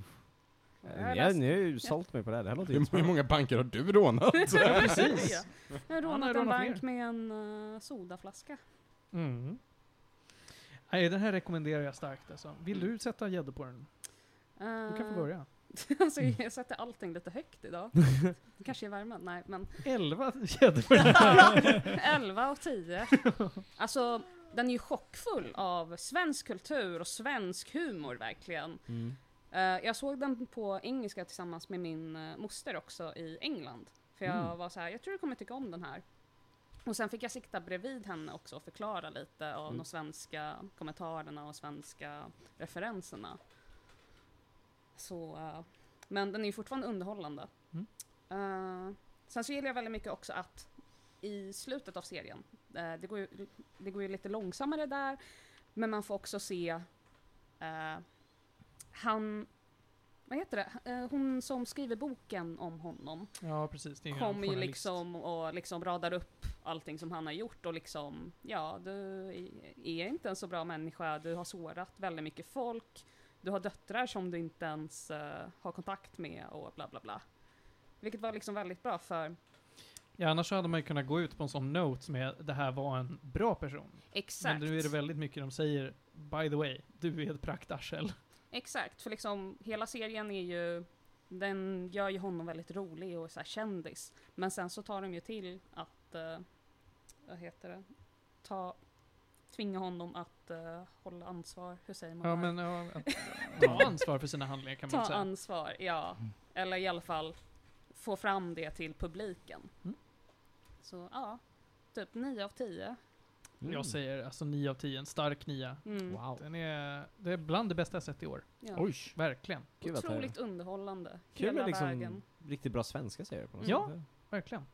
Jag
Jag, ni har ju sålt mig på det här, det här låter
Hur, hur
jättespännande.
många banker har du rånat?
Ja, precis.
Jag har
Han har
rånat en
rånat
bank med en eh, sodaflaska.
Mm. Nej, den här rekommenderar jag starkt alltså. Vill du sätta gäddor på den? Du kan få
Eh,
börja.
alltså, jag sätter allting lite högt idag. Det kanske är värmen, nej men.
11 gäddor på den.
11 och 10. Alltså, den är ju chockfull av svensk kultur och svensk humor verkligen.
Mm.
Eh, jag såg den på engelska tillsammans med min eh, moster också i England. För jag var så här, jag tror du kommer tycka om den här. Och sen fick jag sikta bredvid henne också och förklara lite av de svenska kommentarerna och svenska referenserna. Så, eh, men den är ju fortfarande underhållande.
Mm.
Eh, sen så gillar jag väldigt mycket också att i slutet av serien, eh, det, går ju, det går ju lite långsammare där, men man får också se eh, han, vad heter det, Eh, hon som skriver boken om honom
Ja, precis. Det är en
kommer ju
journalist.
liksom och liksom radar upp allting som han har gjort och liksom, ja du är inte en så bra människa, du har sårat väldigt mycket folk, du har döttrar som du inte ens eh, har kontakt med och bla bla bla. Vilket var liksom väldigt bra för
Ja, annars så hade man ju kunnat gå ut på en sån note som är det här var en bra person.
exakt.
Men nu är det väldigt mycket de säger By the way, du är ett praktarsel.
Exakt, för liksom hela serien är ju, den gör ju honom väldigt rolig och så här kändis. Men sen så tar de ju till att, eh, vad heter det, ta, tvinga honom att eh, hålla ansvar, hur säger man?
Ja,
det här?
men ja, att ta ansvar för sina handlingar kan man
ta
säga.
ansvar, ja. Eller i alla fall få fram det till publiken.
Mm.
Så ja, typ 9 av 10.
Mm.
Jag säger alltså 9 av 10, en stark 9.
Mm,
Wow.
Den är, det är bland det bästa jag sett i år.
ja.
Oj!
Verkligen.
Gud vad trevligt.
Otroligt underhållande,
Kul
hela
med liksom
vägen.
riktigt bra svenska serier på något
Ja.
sätt.
Verkligen.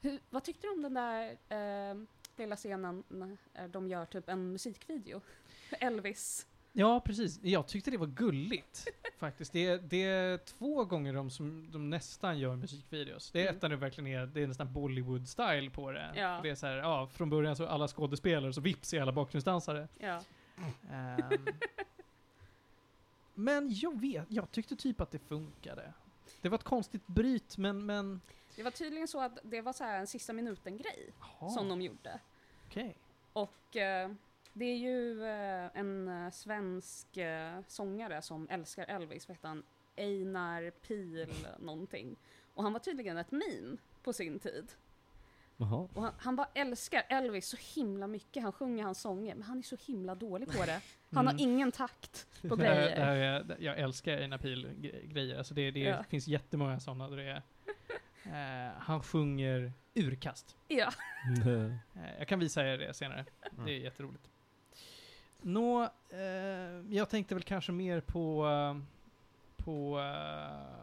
Hur, vad tyckte du om den där eh, lilla scenen när de gör typ en musikvideo? Elvis.
Ja, precis. Jag tyckte det var gulligt faktiskt. Det är, det är två gånger de som de nästan gör musikvideos. Det är
Mm.
ett där det verkligen är, det är nästan Bollywood-style på det.
Ja.
Det är så här, ja, från början så är alla skådespelare, så vips är alla bakgrundsdansare.
Ja.
Ehm. men jag vet, jag tyckte typ att det funkade. Det var ett konstigt bryt, men, men...
Det var tydligen så att det var så här en sista minuten-grej
Ah.
som de gjorde.
Okej.
Och eh, det är ju eh, en eh, svensk eh, sångare som älskar Elvis, vad heter han? Einar Pil någonting. Och han var tydligen ett meme på sin tid.
Jaha.
Och han, han bara älskar Elvis så himla mycket. Han sjunger hans sånger, men han är så himla dålig på det. Han har
Mm.
ingen takt på
Det här, det
grejer.
här är, det- jag älskar Einar Pihl-grejer. Alltså det, det
Ja.
finns jättemånga sådana. där Det är, eh, han sjunger urkast.
Ja.
Eh, jag kan visa er det senare. Det är jätteroligt. Nå, eh, jag tänkte väl kanske mer på, eh, på eh,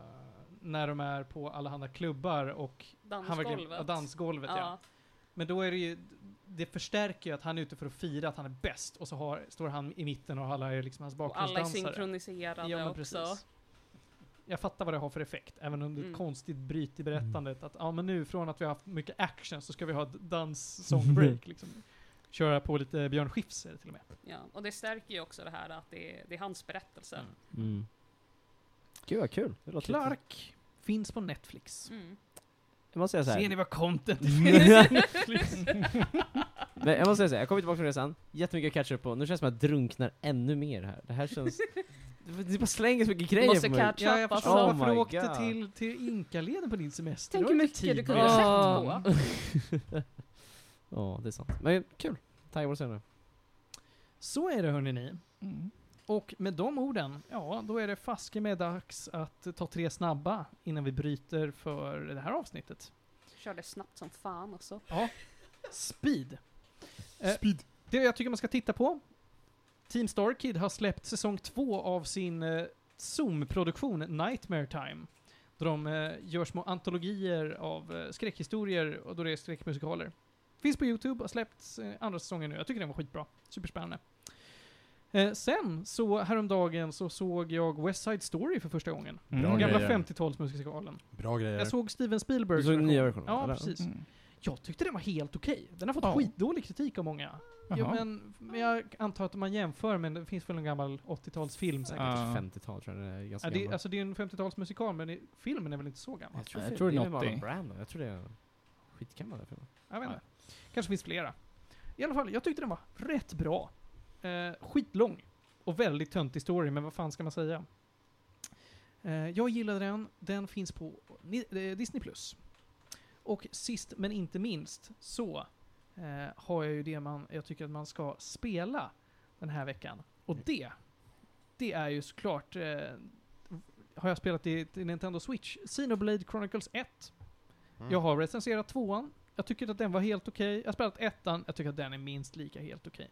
när de är på allehanda klubbar och han verkligen-
Dansgolvet.
ja, dansgolvet ja.
Ja.
Men då är det ju, det förstärker ju att han är ute för att fira att han är bäst och så har, står han i mitten och alla är liksom hans
Och alla är
bakgrundsdansare.
synkroniserade
Ja, men
också.
precis. Jag fattar vad det har för effekt, även om det är ett
Mm.
konstigt bryt i berättandet.
Mm.
Att ja, men nu från att vi har haft mycket action så ska vi ha ett dans-song-break. liksom. Köra på lite Björn Skifser till och med.
Ja. Och det stärker ju också det här att det är, det är hans berättelse.
Mm.
Mm. Gud vad kul. Det låter lite-
Clark finns på Netflix.
Mm.
Jag måste säga så här.
Ser ni vad content det
Ja.
finns på Netflix?
Men jag måste säga så här, jag kommer tillbaka från resan, jättemycket att catch up på, nu känns det som att jag drunknar ännu mer här. Det här känns... Det bara slänger så mycket grejer
Måste
på mig.
catch
Ja, jag
up
förstår
Oh
alltså.
varför du
my
åkte
God.
till, till Inkaleden på din semester.
Tänk
Det
hur
var inte
mycket
tid
du
på
kunde
det.
ha sett.
Ja,
sett
Ja, det är sant. Men kul. Taggad på att se nu.
Så är det hörni ni. Och med de orden, ja då är det faske med dags att ta tre snabba innan vi bryter för det här avsnittet.
Körde snabbt som fan också.
Ja. Speed. Eh, Speed. Det jag tycker man ska titta på. Team Starkid har släppt säsong två av sin eh, Zoom-produktion Nightmare Time. Då de eh, gör små antologier av eh, skräckhistorier och då det är skräckmusikaler. Finns på Youtube, har släppts eh, andra säsongen nu. Jag tycker den var skitbra. Superspännande. Eh, sen så häromdagen så såg jag West Side Story för första gången.
Bra
mm, Gamla
grejer.
50-talsmusikalen.
Bra grejer.
Jag såg Steven Spielberg.
Eh, Du såg den nya versionen?
Ja,
eller?
precis. Jag tyckte den var helt okej. Den har fått
Mm. Ja.
skitdålig kritik av många. Ja,
Jaha.
men, men jag antar att om man jämför, men det finns väl en gammal 80-talsfilm säkert.
Ja.
Ja.
Säkert 50-tal tror jag den är ganska
det,
gammal.
alltså det är en 50-talsmusikal, men det, filmen är väl inte så gammal?
jag tror,
jag
jag
tror
det
den är
är
80.
Marlon Brando. Jag tror det är skitgammal den filmen.
Jag vet inte. Kanske finns flera. I alla fall, jag tyckte den var rätt bra. Eh, skitlång. Och väldigt töntig story, men vad fan ska man säga? Eh, jag gillade den. Den finns på ni- eh, Disney+. Plus. Och sist men inte minst så eh, har jag ju det man, jag tycker att man ska spela den här veckan. Och det, det är ju såklart, eh, har jag spelat i, i Nintendo Switch, Xenoblade Chronicles 1.
Mm.
Jag har recenserat tvåan, Jag tycker att den var helt okej. Jag har spelat ettan, jag tycker att den är minst lika helt okej.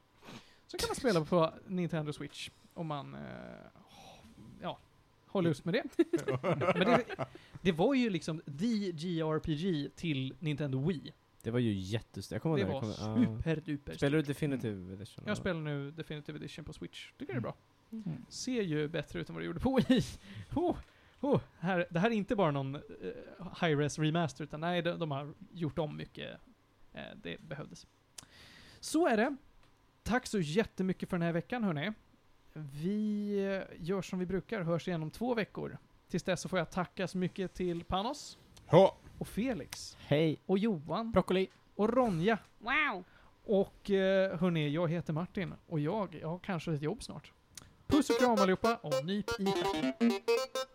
Sen kan man spela på Nintendo Switch om man eh, ja, har lust med det. Men det, det var ju liksom the JRPG till Nintendo Wii.
Det var ju jättestort. Jag kommer
Det
ihåg
var
jag kommer- ja.
superduper
Spelar du Definitive Edition?
Jag spelar nu Definitive Edition på Switch. Tycker det är bra.
Mm.
Ser ju bättre ut än vad det gjorde på Wii. Oh, oh, här, det här är inte bara någon eh, high-res remaster, utan nej, de, de har gjort om mycket. Eh, det behövdes. Så är det. Tack så jättemycket för den här veckan, hörni. Vi eh, gör som vi brukar, hörs igen om två veckor. Tills dess så får jag tacka så mycket till Panos,
Ja,
och Felix,
Hej!
och Johan,
Broccoli.
och Ronja.
Wow!
Och eh, hörni, jag heter Martin och jag, jag har kanske ett jobb snart. Puss och kram allihopa och nyp i hatten.